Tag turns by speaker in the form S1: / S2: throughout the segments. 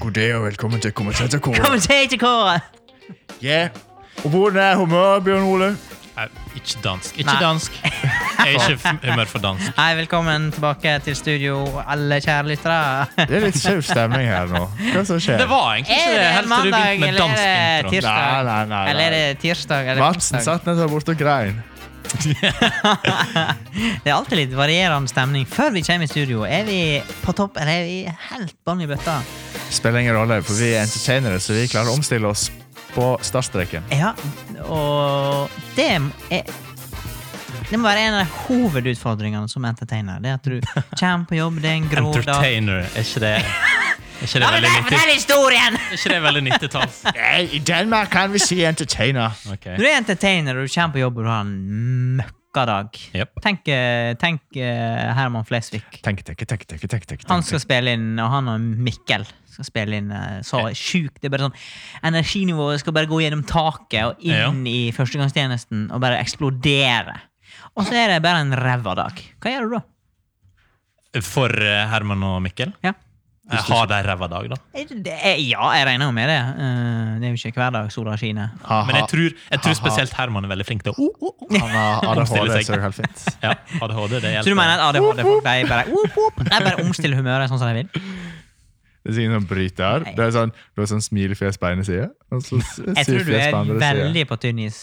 S1: god dag og velkommen til kommentatorkoret.
S2: Kommentatorkåret!
S1: Ja. Og hvordan er humøret, Bjørn Ole?
S3: Nei, ikke dansk. Ikke
S2: Nei.
S3: dansk. Jeg er ikke i f- humør for dansk.
S2: Hei, velkommen tilbake til studio, alle kjære lyttere.
S1: Det er litt skjev stemning her nå. Hva som skjer?
S3: Det var egentlig ikke
S2: Er det
S3: det helt til du
S2: mandag,
S3: begynte med
S2: eller
S3: dansk
S2: er det
S3: intro.
S2: tirsdag?
S1: Nei, nei, nei, nei.
S2: Eller er det tirsdag? Eller
S1: Madsen
S2: onsdag?
S1: satt nettopp borte og grein.
S2: Det er alltid litt varierende stemning. Før vi kommer i studio, er vi på topp, eller er vi helt bånn i bøtta?
S1: Spiller ingen rolle, for vi er entertainere, så vi klarer å omstille oss på startstreken.
S2: Ja, og det er det må være en av hovedutfordringene som entertainer. Det er At du kommer på jobb, det er en grå dag
S3: Entertainer, er ikke det Er ikke det
S2: La meg
S3: veldig
S2: bare
S3: 90
S2: fortelle historien!
S3: er ikke det veldig 90-talls?
S1: Nei, i Danmark kan vi si entertainer.
S3: Ok.
S2: Når du er entertainer og du kommer på jobb og du har en møkkadag
S3: Jep.
S2: Tenk, eh, tenk eh, Herman Flesvig.
S1: Tenk, tenk, tenk, tenk, tenk, tenk.
S2: Han skal spille inn, og han og Mikkel skal spille inn eh, så sjukt. Det er bare sånn Energinivået skal bare gå gjennom taket og inn i førstegangstjenesten og bare eksplodere. Og så er det bare en ræva dag. Hva gjør du da?
S3: For eh, Herman og Mikkel?
S2: Ja,
S3: Eh, Har de ræva dag, da?
S2: Eh, det er, ja jeg regner jo med det. Eh, det er jo ikke hver dag sola skinner.
S3: Men jeg tror, jeg tror
S1: Ha-ha.
S3: spesielt Herman er veldig flink til å oh, oh, oh.
S1: Han har ADHD,
S3: Omstille seg.
S1: så det er helt fint.
S3: Ja, ADHD, det
S2: Så du mener at
S3: hjelper.
S2: ADHD-folk de bare, whoop, whoop, de bare omstiller humøret sånn som de vil?
S1: Det er sikkert sånn bryter. Det er sånn, du har sånn smilefjes på ene side, og så s-
S2: Jeg tror du
S1: surfjes
S2: er
S1: på andre side.
S2: veldig på tynn is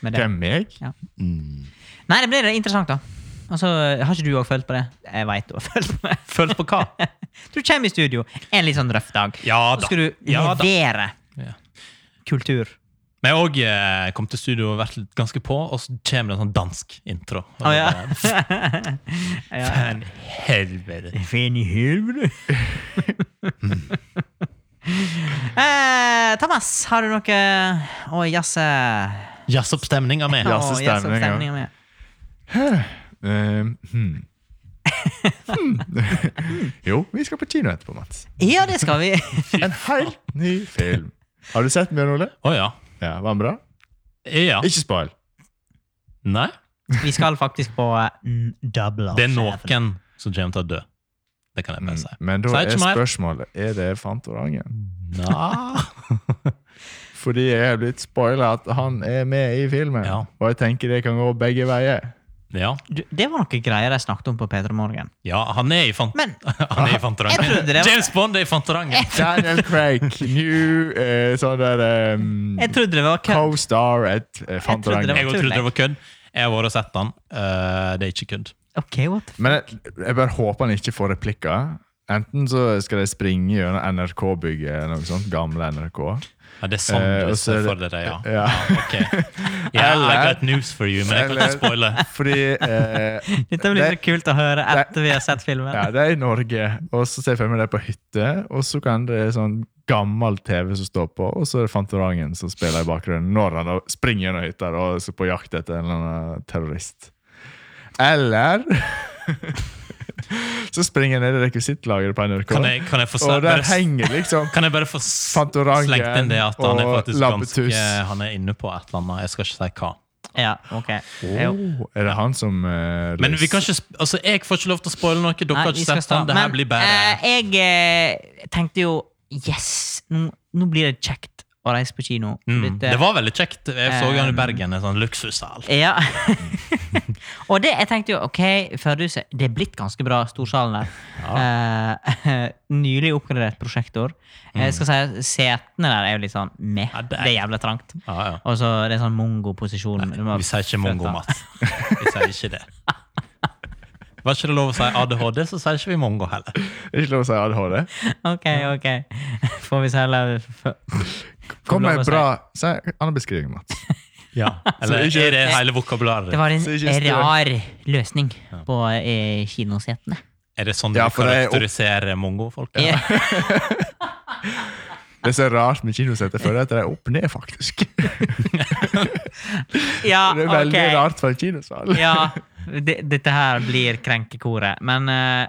S2: med det.
S1: Hvem meg?
S2: Ja.
S1: Mm.
S2: Nei, det blir interessant, da. Altså, har ikke du òg følt på det? Jeg veit du har følt på det.
S3: Følt på hva?
S2: Du kommer i studio en litt sånn røff dag.
S3: Ja
S2: Så
S3: da.
S2: skal du
S3: Ja, da.
S2: levere
S3: Ja.
S2: kultur.
S3: Men jeg òg eh, kom til studio og vært litt ganske på, og så kommer det en sånn dansk intro. Og
S2: Å ja.
S3: det er
S2: ja.
S3: En helvete.
S2: Fin i helvete. eh, Thomas, har du noe å jazze?
S3: Jazzoppstemninga mi.
S1: Ja. Jazze
S2: Å, jazze
S1: stemning, ja.
S2: stemninga mi.
S1: Ehm, hmm. Hmm. jo, vi skal på kino etterpå, Mats.
S2: Ja, det skal vi.
S1: En helt ny film. Har du sett den, Bjørn Ole?
S3: Å ja.
S1: Ja, Var den bra?
S3: Ja.
S1: Ikke spoil.
S3: Nei.
S2: Vi skal faktisk på mm, Dublin.
S3: Det er noen som kommer til å dø. Det kan jeg bare si.
S1: Mm. Men da
S3: Si
S1: er
S3: ikke mer.
S1: spørsmålet er det Fantorangen.
S3: Nja.
S1: Fordi jeg er blitt spoila at han er med i filmen.
S3: Ja.
S1: Og jeg tenker det kan gå begge veier.
S3: Ja.
S2: Du, det var noe greier de snakket om på P3 Morgen.
S3: ja, han er i fant...
S2: Men
S3: Han er i
S2: Jeg
S3: Fantorangen.
S2: trodde det var-
S3: James Bond er i Fantorangen.
S1: Daniel Craig, new eh, sånn der ehm,
S2: jeg trodde det var kødd.
S1: co-star at eh,
S2: det
S1: Fantorangen.
S3: Jeg også trodde det var kødd. Jeg har vært og sett han. Eh, det er ikke kødd.
S2: Ok, what the
S1: Men jeg, jeg bare håper han ikke får replikker. Enten så skal de springe gjennom NRK-bygget, eller noe sånt, gamle NRK.
S3: Ja, det er sånn
S1: Eh,
S3: du
S1: og så
S3: ser
S1: er det-
S3: for dere, ja.
S1: Ja.
S3: Ok. Ja, I
S1: Eller-
S3: got news for you, men jeg kan
S1: Eller-
S3: ikke spoile.
S1: Fordi eh,
S2: Dette blir
S1: Det-
S2: så kult å høre etter vi har sett filmen.
S1: ja, det er i Norge, og så ser jeg for meg det på hytte, og så kan det være sånn gammel TV som står på, og så er det Fantorangen som spiller i bakgrunnen når han da springer gjennom hytta da, og er på jakt etter en eller annen terrorist. Eller så springer jeg ned i rekvisittlageret på NRK,
S3: Kan jeg, kan jeg få
S1: og
S3: sl-
S1: der
S3: bare,
S1: henger liksom
S3: kan jeg bare få s-
S1: Fantorangen
S3: slengt inn det at han er
S1: og
S3: faktisk
S1: Lampetus.
S3: ganske Han er inne på et eller annet. Jeg skal ikke si hva.
S2: Ja, ok. Jo.
S1: Åh, Oh, Er det han som eh,
S3: Men vi
S1: løs-
S3: kan ikke, sp- altså, jeg får ikke lov til å spoile noe. Dere
S2: Nei,
S3: har
S2: vi
S3: ikke
S2: skal
S3: sett han.
S2: starte.
S3: Det her
S2: Men,
S3: blir bare
S2: eh, Jeg eh, tenkte jo Yes! Nå, nå blir det kjekt å reise på kino. eh,
S3: mm,
S2: Dette-
S3: Det var veldig kjekt. Jeg så
S2: Eh,
S3: han i Bergen, en sånn luksussal.
S2: Ja. og det, jeg tenkte jo ok, Førdehuset Det er blitt ganske bra, storsalen der. Eh, nylig oppgradert prosjektor. Jeg skal si Setene der er jo litt sånn meh.
S3: Mm. Ja, det
S2: det
S3: er-
S2: er jævla trangt.
S3: Ja, ja.
S2: Og så det er sånn mongo-posisjon. Du må-
S3: Vi sier ikke mongo,
S2: føtta.
S3: Mats. Vi sier ikke det. Var ikke det lov å si ADHD, så sier ikke vi mongo heller.
S1: Er det ikke lov å si ADHD?
S2: Ok, ok. Får vi selge
S1: Kom med
S2: lov å
S1: en
S2: si.
S1: bra si en annen beskriving, Mats.
S3: Ja.
S1: Så
S3: Eller
S1: ikke-
S3: er det hele vokabularet?
S2: Det var
S1: Så ikke
S2: en
S1: stø.
S2: rar løsning på eh, kinosetene.
S3: Er det sånn
S1: Ja,
S3: du
S1: for det er opp-
S3: karakteriserer mongofolk?
S2: Ja.
S1: Det er så rart med kinosetet, for at det er opp ned, faktisk. Det
S2: Ja,
S1: er veldig
S2: ok.
S1: rart for en kinosal.
S2: Ja, det, dette her blir krenkekoret. Men eh,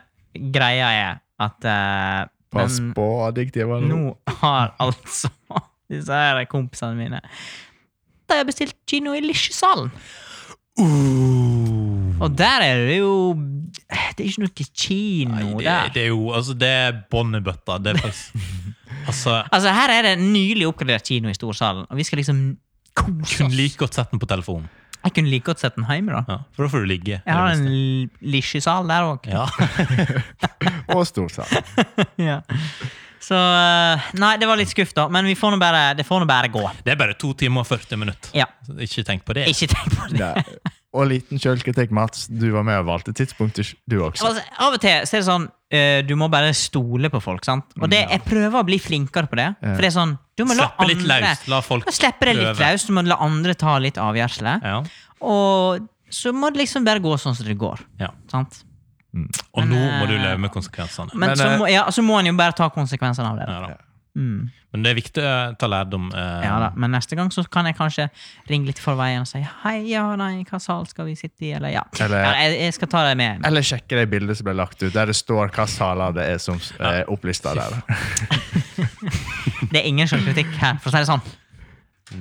S2: greia er at eh,
S1: Pass
S2: men
S1: på adjektivene.
S2: nå har altså disse her kompisene mine De har bestilt kino i Lisjesalen.
S3: Uh.
S2: Og der er det jo eh, Det er ikke noe kino
S3: Nei, det,
S2: der.
S3: det er jo altså, det er båndebøtta. Det er faktisk Altså,
S2: Altså, her er det en nylig oppgradert kino i storsalen, og vi skal liksom kose
S3: kunne
S2: oss.
S3: like godt sett den på telefon.
S2: Jeg kunne like godt sett den hjemme, da.
S3: Ja, for da får du ligge.
S2: Jeg har en l- lisjesal der òg.
S3: Ja.
S1: Og storsal.
S2: Ja. Så eh, Nei, det var litt skuff, da. Men vi får nå bare, det får nå bare gå.
S3: Det er bare to timer og 40 minutter.
S2: Ja.
S3: Så Ikke tenk på det.
S2: Ikke tenk på det.
S1: Ja. Og liten sjølkritikk, Mats. Du var med og valgte tidspunktet, du også.
S2: Altså, av og til så er det sånn eh, Du må bare stole på folk. sant? Og det, jeg prøver å bli flinkere på det.
S1: Ja.
S2: For det er sånn Du må la
S3: Mm, Slippe litt
S2: andre
S3: løs. La folk
S2: Da slipper det litt
S3: prøve.
S2: løs. Du må la andre ta litt avgjørelse.
S3: Ja.
S2: Og så må det liksom bare gå sånn som det går.
S3: Ja.
S2: sant?
S3: Og
S2: Men,
S3: nå må du
S2: eh,
S3: leve med konsekvensene.
S2: Men,
S1: Men,
S2: så,
S1: eh,
S2: må, ja, så må en jo bare ta konsekvensene av det. da.
S3: Ja, da.
S2: Mm.
S3: Men det er viktig å ta lærdom. eh,
S2: Ja da, Men neste gang så kan jeg kanskje ringe litt for veien og si hei, ja, nei, hva sal skal vi sitte i, eller ja.
S1: Eller-
S2: ja jeg, jeg skal ta deg med.
S1: Eller sjekke de bildene som ble lagt ut, der det står hva saler det er som er opplista der.
S2: Det er ingen selvkritikk her, for å si det sånn.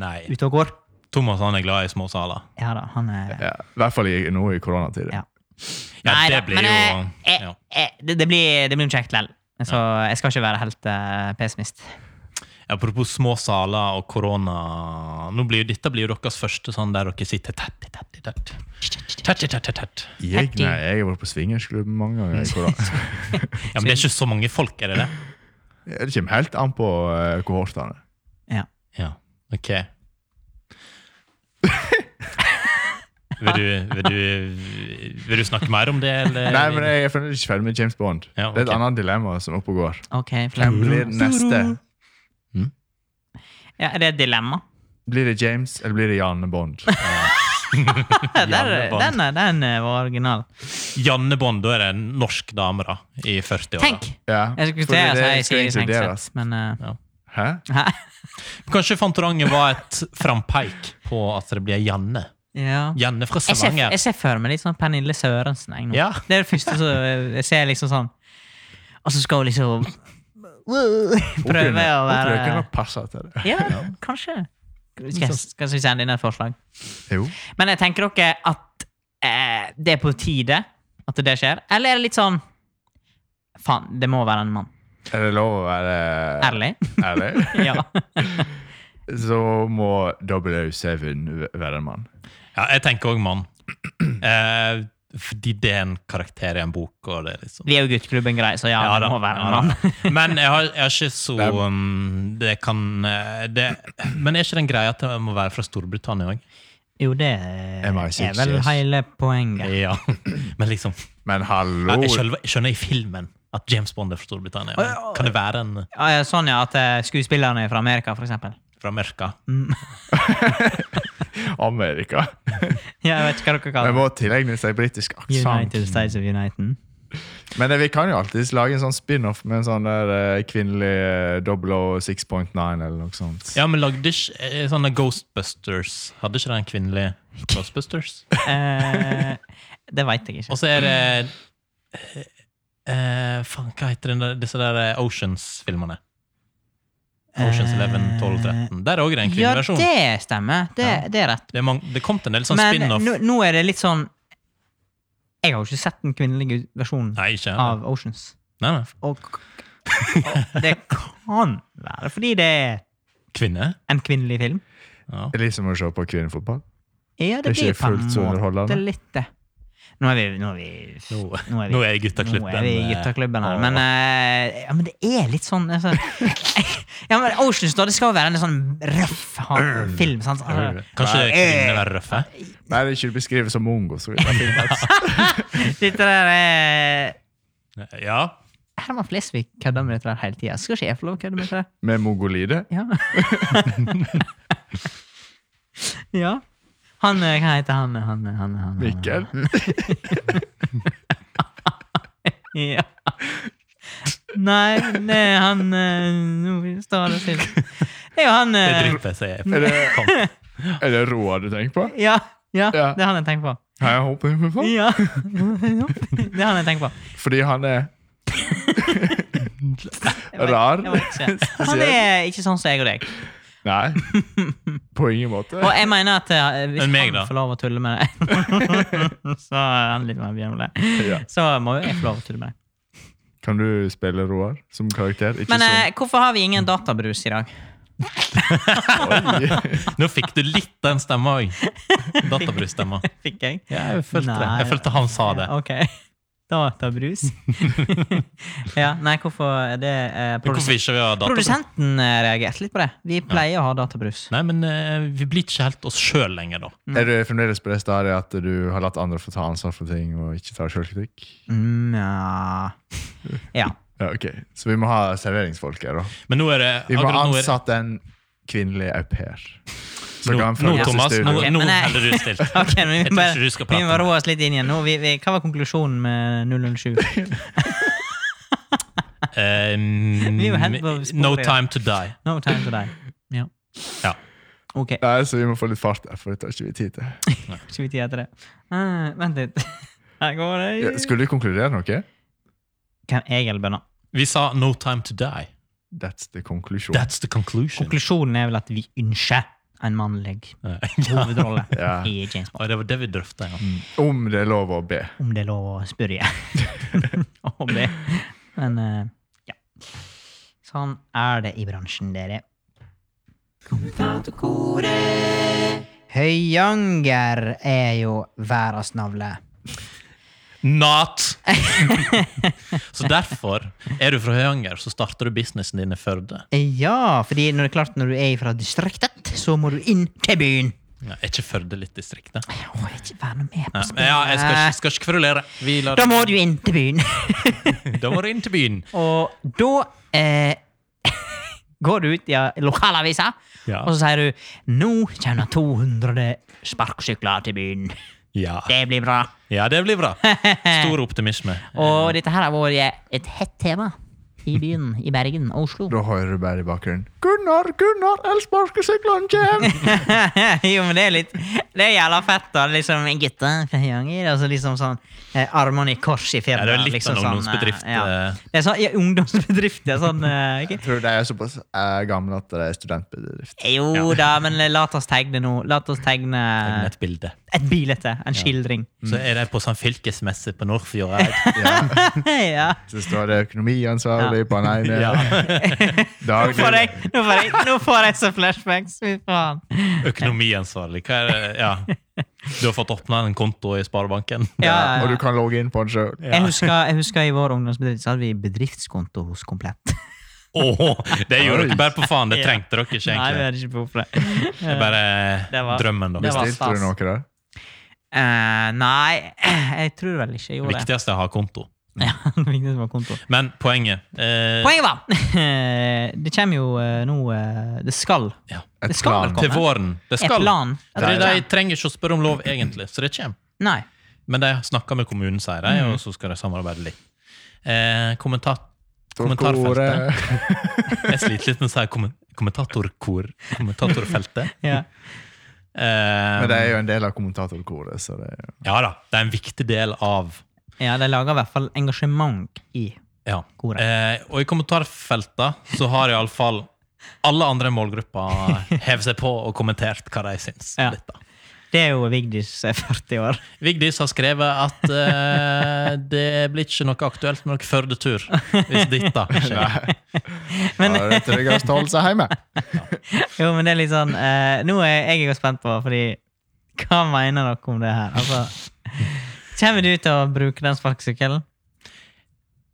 S3: Nei.
S2: Ute og går.
S3: Thomas han er glad i små saler.
S2: Ja da, han er
S1: Ja, I hvert fall i- nå i koronatiden.
S2: Ja.
S3: Ja,
S2: Nei
S3: det
S2: da,
S3: blir
S2: men,
S3: jo
S2: eh, eh,
S3: ja.
S2: eh, det, det blir, det blir kjekt likevel. Så jeg skal ikke være helt eh, pessimist.
S3: Apropos små saler og korona. Nå blir jo, dette blir jo deres første sånn der dere sitter tett i tett i tett. Tett i tett i tett.
S1: Jeg, nei, jeg har vært på swingersklubben mange ganger. i korona.
S3: Ja, men det er ikke så mange folk, er det det?
S1: Det kommer helt an på eh, kohortene.
S2: Ja.
S3: Ja, ok. Vil du, vil, du, vil du snakke mer om det, eller?
S1: Nei, men jeg er fremdeles ikke ferdig med James Bond.
S3: Ja,
S1: Det er et
S3: ok.
S1: annet dilemma som er oppe og går.
S2: Ok, flott.
S1: Hvem blir neste?
S2: ja, Er det et dilemma?
S1: Blir det James, eller blir det Janne Bond?
S2: Ja, der,
S3: Janne Bond.
S2: den, er- den er- var original.
S3: Janne Bond, da er det en norsk dame da, i 40-åra.
S2: Tenk!
S1: Ja,
S2: Jeg skulle
S1: fordi
S2: til å
S1: det skal
S2: si Siri
S1: inkluderes.
S2: Sengset, men eh,
S1: Hæ?
S2: hæ?
S3: Kanskje Fantorangen var et frampeik på at det blir Janne.
S2: ja.
S3: Janne fra
S2: jeg, ser,
S3: Stavanger.
S2: jeg ser for meg litt sånn Pernille Sørensen. Jeg, nå.
S3: Ja.
S2: Det er det første som jeg ser liksom sånn Og så skal hun liksom
S1: Hun
S2: prøve å
S1: tror jeg
S2: være
S1: kunne passe til det.
S2: Ja, kanskje. Skal, jeg- skal vi sende inn et forslag?
S1: Jo.
S2: Men jeg tenker dere at eh, det er på tide at det skjer? Eller er det litt sånn Faen, det må være en mann.
S1: Er det lov å være
S2: Ærlig?
S1: ærlig?
S2: ja.
S1: Så må W7 være en mann.
S3: Ja, jeg tenker òg mann. Eh, fordi det er en karakter i en bok. og det er liksom...
S2: Vi er jo gutteklubben grei, så ja,
S3: Ja
S2: det
S3: da,
S2: må være en
S3: ja da.
S2: mann.
S3: Men jeg har, jeg har ikke så
S1: Det er-
S3: um, Det kan eh, det, Men er ikke den greia at det må være fra Storbritannia òg?
S2: Jo, det
S1: Jeg må jo si
S2: er vel
S1: yes.
S2: hele poenget.
S3: Ja. Men liksom
S1: Men hallo!
S3: jeg skjønner, jeg skjønner i filmen at James Bond er fra Storbritannia. Men kan det være en
S2: Ja, ja, Sånn, ja, at eh, skuespillerne er fra Amerika, for eksempel. Mm.
S3: fra Amerika?
S1: Amerika!
S2: Ja, jeg vet ikke hva dere
S1: Man
S2: kaller det.
S1: må tilegne seg britisk aksent.
S2: United States of United.
S1: Men eh, vi kan jo alltids lage en sånn spin-off med en sånn der eh, kvinnelig Doblo 6.9 eller noe sånt.
S3: Ja, men lagde ikke eh, sånne Ghostbusters Hadde ikke den kvinnelige Ghostbusters?
S2: Eh, det veit jeg ikke.
S3: Og så er det eh, eh, Faen, hva heter den der, disse der eh, Oceans-filmene? Oceans 11, 12, 13. Der er òg en
S2: Ja,
S3: kvinneversjon.
S2: det stemmer. Det,
S3: Ja.
S2: det er rett.
S3: Det, er mang- det kom til en del sånn
S2: Men
S3: spin-off.
S2: nå, nå er det litt sånn Jeg har jo ikke sett den kvinnelige versjonen
S3: Nei, ikke
S2: av Oceans.
S3: nei, nei.
S2: Og, og det kan være fordi det er
S3: Kvinne?
S2: en kvinnelig film.
S3: Ja.
S1: Det er litt som å se på kvinnefotball.
S2: Ja,
S1: Det er
S2: det blir
S1: ikke
S2: på
S1: fullt så
S2: en
S1: underholdende.
S2: måte litt det. Nå er vi Nå er vi,
S3: Nå,
S2: nå er vi
S3: nå er jeg guttaklubben.
S2: Nå er vi i
S3: eh,
S2: guttaklubben her.
S3: og-
S2: Men, eh, ja, men det er litt sånn altså, ja, men Oceans da, det skal jo være en sånn røff ha- film. Sant? Altså,
S3: eh, Kanskje
S2: Nei.
S3: kvinner er røffe?
S1: Nei, det er ikke beskrevet som mongo. Så det
S2: dette der er
S3: Ja.
S2: Herman Flesvig kødder med dette der hele tida. Skal ikke jeg få lov å kødde med dette? der?
S1: med mongolide.
S2: Ja. ja. Han, eh, hva heter han? han, han, han, han
S1: Mikkel.
S2: Ja. Nei, det er han eh, Nå står det stille. Det er jo han
S3: Det
S2: eh,
S3: drypper seg.
S1: Er det,
S3: Kom.
S1: er det Roar du tenker på?
S2: Ja, ja,
S1: Ja.
S2: det er han jeg tenker på.
S1: Har jeg håpet på på?
S2: Ja. Det er han jeg tenker på.
S1: Fordi han er rar.
S2: Jeg vet ikke. Han er ikke sånn som jeg og deg.
S1: Nei. På ingen måte.
S2: Og jeg mener at eh, hvis
S3: Men meg, da?
S2: han får lov å tulle med det, så er han litt mer bjørn med det.
S1: Ja.
S2: Så må jo jeg få lov å tulle med det.
S1: Kan du spille Roar som karakter? Ikke
S2: Men eh, hvorfor har vi ingen databrus i dag?
S1: som
S3: Nå fikk du litt den stemma òg. Databrus-stemma.
S2: Fikk jeg?
S3: Ja, jeg følte det.
S2: Nei.
S3: Jeg følte han sa det.
S2: Ok. Databrus? ja, nei, hvorfor er det eh,
S3: Hvorfor ikke vi har databrus?
S2: Produsenten eh, reagerte litt på det. Vi pleier å ha databrus.
S3: Nei, men eh, vi blir ikke helt oss sjøl lenger, da.
S1: Er du fremdeles på det stadiet at du har latt andre få ta ansvar for ting og ikke tar sjølkritikk?
S2: Mm, ja. ja.
S1: Ja, ok. Så vi må ha serveringsfolk her, da.
S3: Men nå er det
S1: Vi må
S3: akkurat nå er,
S1: ansette en kvinnelig au pair. Som
S3: nå,
S1: kan
S3: nå,
S1: følge oss i
S3: Thomas, nå,
S1: studio.
S2: Ok,
S3: nå
S2: men jeg-
S3: holder du stilt.
S2: Ok, men vi må
S3: Jeg tror
S2: bare,
S3: ikke du skal
S2: vi må
S3: prate.
S2: rå oss litt inn igjen. Nå, vi, vi, hva var konklusjonen med 007?
S3: Ehm,
S2: Vi var helt på sporet.
S3: no time to die.
S2: No time to die. Ja.
S3: Ja.
S2: Ok,
S1: Nei, så vi må få litt fart der, for det tar ikke vi tid til.
S2: skal vi tid etter det? Eh, vent litt. Her går det
S1: Ja, skulle du konkludere noe?
S2: Kan jeg eller bønna?
S3: Vi sa no time to die.
S1: That's the conclusion.
S3: That's the conclusion.
S2: Konklusjonen er vel at vi ønsker en mannlig
S3: Ja.
S2: hovedrolle
S1: Ja.
S2: i James Bond.
S3: Og det var det vi drøfta. Ja.
S1: Mm. Om det er lov å be.
S2: Om det er lov å spørre om det. Men eh, ja. Sånn er det i bransjen, dere. Høyanger er jo verdens navle.
S3: Not! så derfor, er du fra Høyanger, så starter du businessen din i Førde.
S2: Ja, fordi når det er klart når du er fra distriktet, så må du inn til byen.
S3: Ja, er ikke Førde litt distrikt, da?
S2: Jeg må ikke være noe med
S3: Ja,
S2: på
S3: men ja, jeg skal, ikke-
S2: spillet.
S3: skal ikke kverulere. Vi lar-
S2: Da må du inn til byen.
S3: Da må du inn til byen.
S2: Og da eh, går du ut i lokalavisa,
S3: Ja.
S2: og så sier du 'Nå kommer det 200 sparkesykler til byen'.
S3: Ja.
S2: Det blir bra.
S3: ja, det blir bra. Stor optimisme.
S2: Og dette her har vært et hett tema i byen, i Bergen, Oslo.
S1: Da hører du bare i bakgrunnen Gunnar, Gunnar, elsparkesyklene kommer!
S2: jo, men det er litt Det er jævla fett, da. Liksom gutta fra Høyanger. Altså liksom sånn eh, armene i kors i
S3: Ja,
S2: firmaet.
S3: det er litt
S2: liksom
S3: sånn ungdomsbedrift.
S2: eh, ja.
S3: eh,
S2: Det er sånn, ja, ungdomsbedrift, ja. Sånn, eh, ok.
S1: Tror du de er såpass eh, gamle at de er studentbedrift?
S2: Jo da, men la oss tegne noe. La oss tegne
S3: Et bilde.
S2: et bilde. En skildring.
S3: Så er de på sånn fylkesmesse på Nordfjordeid.
S1: Ja.
S2: ja.
S1: Så står det økonomiansvarlig på den ene.
S3: Ja.
S2: Nå
S1: Daglig
S2: får jeg, nå får jeg, nå får jeg så flashbacks. Fy faen.
S3: Økonomiansvarlig. Hva er det? Ja. Du har fått åpna en konto i Sparebanken.
S2: Ja, ja,
S1: Og
S2: ja.
S1: du kan logge inn på den sjøl.
S2: Jeg, husker, jeg husker i vår ungdomsbedrift så hadde vi bedriftskonto hos Komplett.
S3: Åh, det gjorde
S1: Oi.
S3: dere bare på faen. Det
S2: Ja.
S3: trengte dere
S2: Nei,
S3: ikke,
S2: vi
S3: egentlig.
S2: hadde ikke behov for det.
S3: Det er bare
S2: Det var-
S3: drømmen, da.
S2: det var
S1: Bestilte
S2: stas.
S1: du noe der?
S2: Eh, nei, jeg tror vel ikke jeg
S3: Det
S2: gjorde det.
S3: viktigste er å ha konto.
S2: Ja, det viktigste var konto.
S3: Men poenget eh,
S2: Poenget var Det kommer jo eh, nå eh, Det skal.
S3: Ja.
S2: Det skal vel
S1: plan.
S3: Til
S2: komme.
S3: våren. Det
S2: Er
S3: skal.
S2: planen. at
S3: Fordi
S2: det
S3: de
S2: kommer.
S3: trenger ikke å spørre om lov, egentlig, så det kommer.
S2: Nei.
S3: Men de snakker med kommunen, sier de,
S1: Mm.
S3: og så skal de samarbeide litt. Eh, kommentar, kommentarfeltet.
S1: Torkoret.
S3: Jeg sliter litt med å si kommen- kommentatorkor. Kommentatorfeltet.
S2: Ja.
S3: Eh,
S1: Men det er jo en del av kommentatorkoret, så det er jo
S3: Ja da, det er en viktig del av
S2: Ja, de lager i hvert fall engasjement i
S3: ja.
S2: koret.
S3: eh, Og i kommentarfelta så har iallfall alle andre i målgruppa hevet seg på og kommentert hva de syns. om
S2: Ja.
S3: dette.
S2: Det er jo Vigdis eh, 40 år.
S3: Vigdis har skrevet at eh, det blir ikke noe aktuelt med noen Førde-tur hvis dette skjer.
S1: Nei.
S2: Men-
S1: Ja, det er tryggest å holde seg hjemme.
S2: Jo, men det er litt sånn eh, Nå er jeg jo spent på, fordi Hva mener dere om det her? Altså Kommer du til å bruke den sparkesykkelen?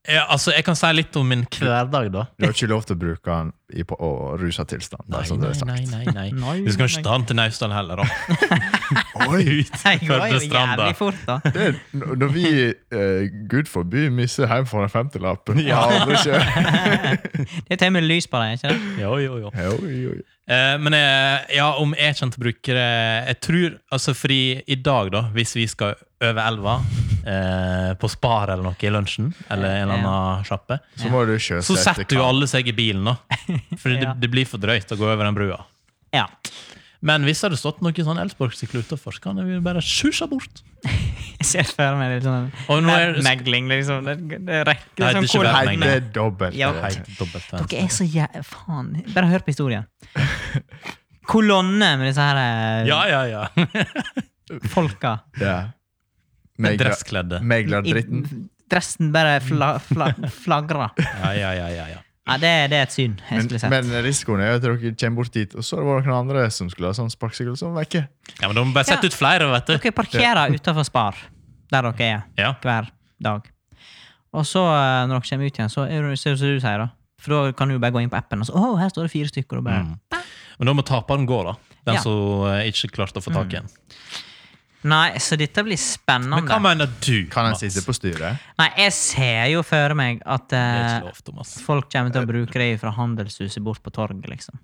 S3: Ja, altså, jeg kan si litt om min hverdag, da.
S1: Du har ikke lov til å bruke den i på, og rusa tilstand. Nei, som det er sagt.
S3: nei, nei, nei,
S2: Nei,
S3: Du skal
S2: nei.
S3: ikke ta den til Naustdal heller, da.
S1: Oi!
S2: Jeg går jo
S3: Førdestranda.
S2: jævlig fort, da.
S1: Det, er- når vi, eh, gud forby, misser hjem for en femtilapp ja. aldri kjører.
S2: Det tømmer lys på deg, ikke det?
S3: Jo, jo, jo.
S1: Oi, oi.
S3: Eh, men eh, ja, om jeg kommer til å bruke det Jeg tror, altså fordi i dag, da, hvis vi skal over elva eh, på Spar eller noe i lunsjen, eller en eller annen sjappe,
S1: Så må du
S3: så
S1: sjøsette
S3: setter jo alle seg i bilen, da. For det,
S2: Ja.
S3: det blir for drøyt å gå over den brua.
S2: Ja.
S3: Men hvis det hadde stått noen sånn elsparkesykler utafor, så kan vi bare susja bort.
S2: Jeg ser for meg litt sånn
S3: Og nå er Nei,
S2: Megling, liksom. Det, det
S3: Nei,
S2: rekker
S3: det er
S2: sånn
S3: ikke
S2: hvor
S3: verdt
S1: Nei, det er dobbelt. eh,
S2: Ja.
S1: Hei.
S3: sånn- dobbelt
S2: Dere
S3: venstre.
S2: er så jæ... Faen. Bare hør på historien. Kolonne med disse her eh,
S3: Ja, ja, ja.
S2: folka.
S1: Ja. Megla-
S3: Dresskledde.
S1: Meglardritten.
S2: I- Stressen bare fla, fla, flagrer.
S3: Ja, ja, ja, ja, ja.
S2: Ja, det, det er et syn jeg
S1: Men,
S2: skulle sett.
S1: men risikoen er jo at dere kommer bort dit, og så er det bare noen andre som skulle ha sånn sparkesykkel som vekker.
S3: ja men da må vi bare sette
S2: Ja.
S3: ut flere, vet du.
S2: Dere parkerer utenfor Spar, der dere er
S3: Ja.
S2: hver dag. Og så, eh, når dere kommer ut igjen, så er det ser det ut som du sier, da. For da kan du jo bare gå inn på appen og så Å, her står det fire stykker, og bare
S3: Mm. Men da må taperen gå, da. Den
S2: Ja.
S3: som eh, ikke klarte å få tak i en.
S2: Nei, så dette blir spennende.
S3: Men hva mener du?
S1: Kan en
S3: Mats?
S1: sitte på styret?
S2: Nei, jeg ser jo for meg at
S3: Det er
S2: eh,
S3: ikke lov, Thomas.
S2: folk kommer til å bruke det fra handelshuset bort på torget, liksom.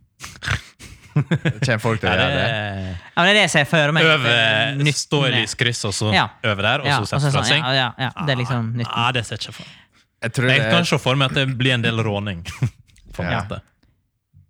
S1: Kommer folk til å
S3: Ja,
S1: gjøre det?
S2: Ja, men det er det jeg ser for meg.
S3: Øve,
S2: Eh, nytt
S3: stå i
S2: med-
S3: lyskryss, og så
S2: Ja.
S3: øve der, og
S2: Ja,
S3: så sette fra
S2: sånn,
S3: seg.
S2: ja, ja, ja, det er liksom nytt.
S3: Nei, det ser jeg ikke for meg.
S1: Jeg tror
S3: Jeg
S1: det
S3: kan
S1: er
S3: se for meg at det blir en del råning. På en
S1: Ja.
S3: måte.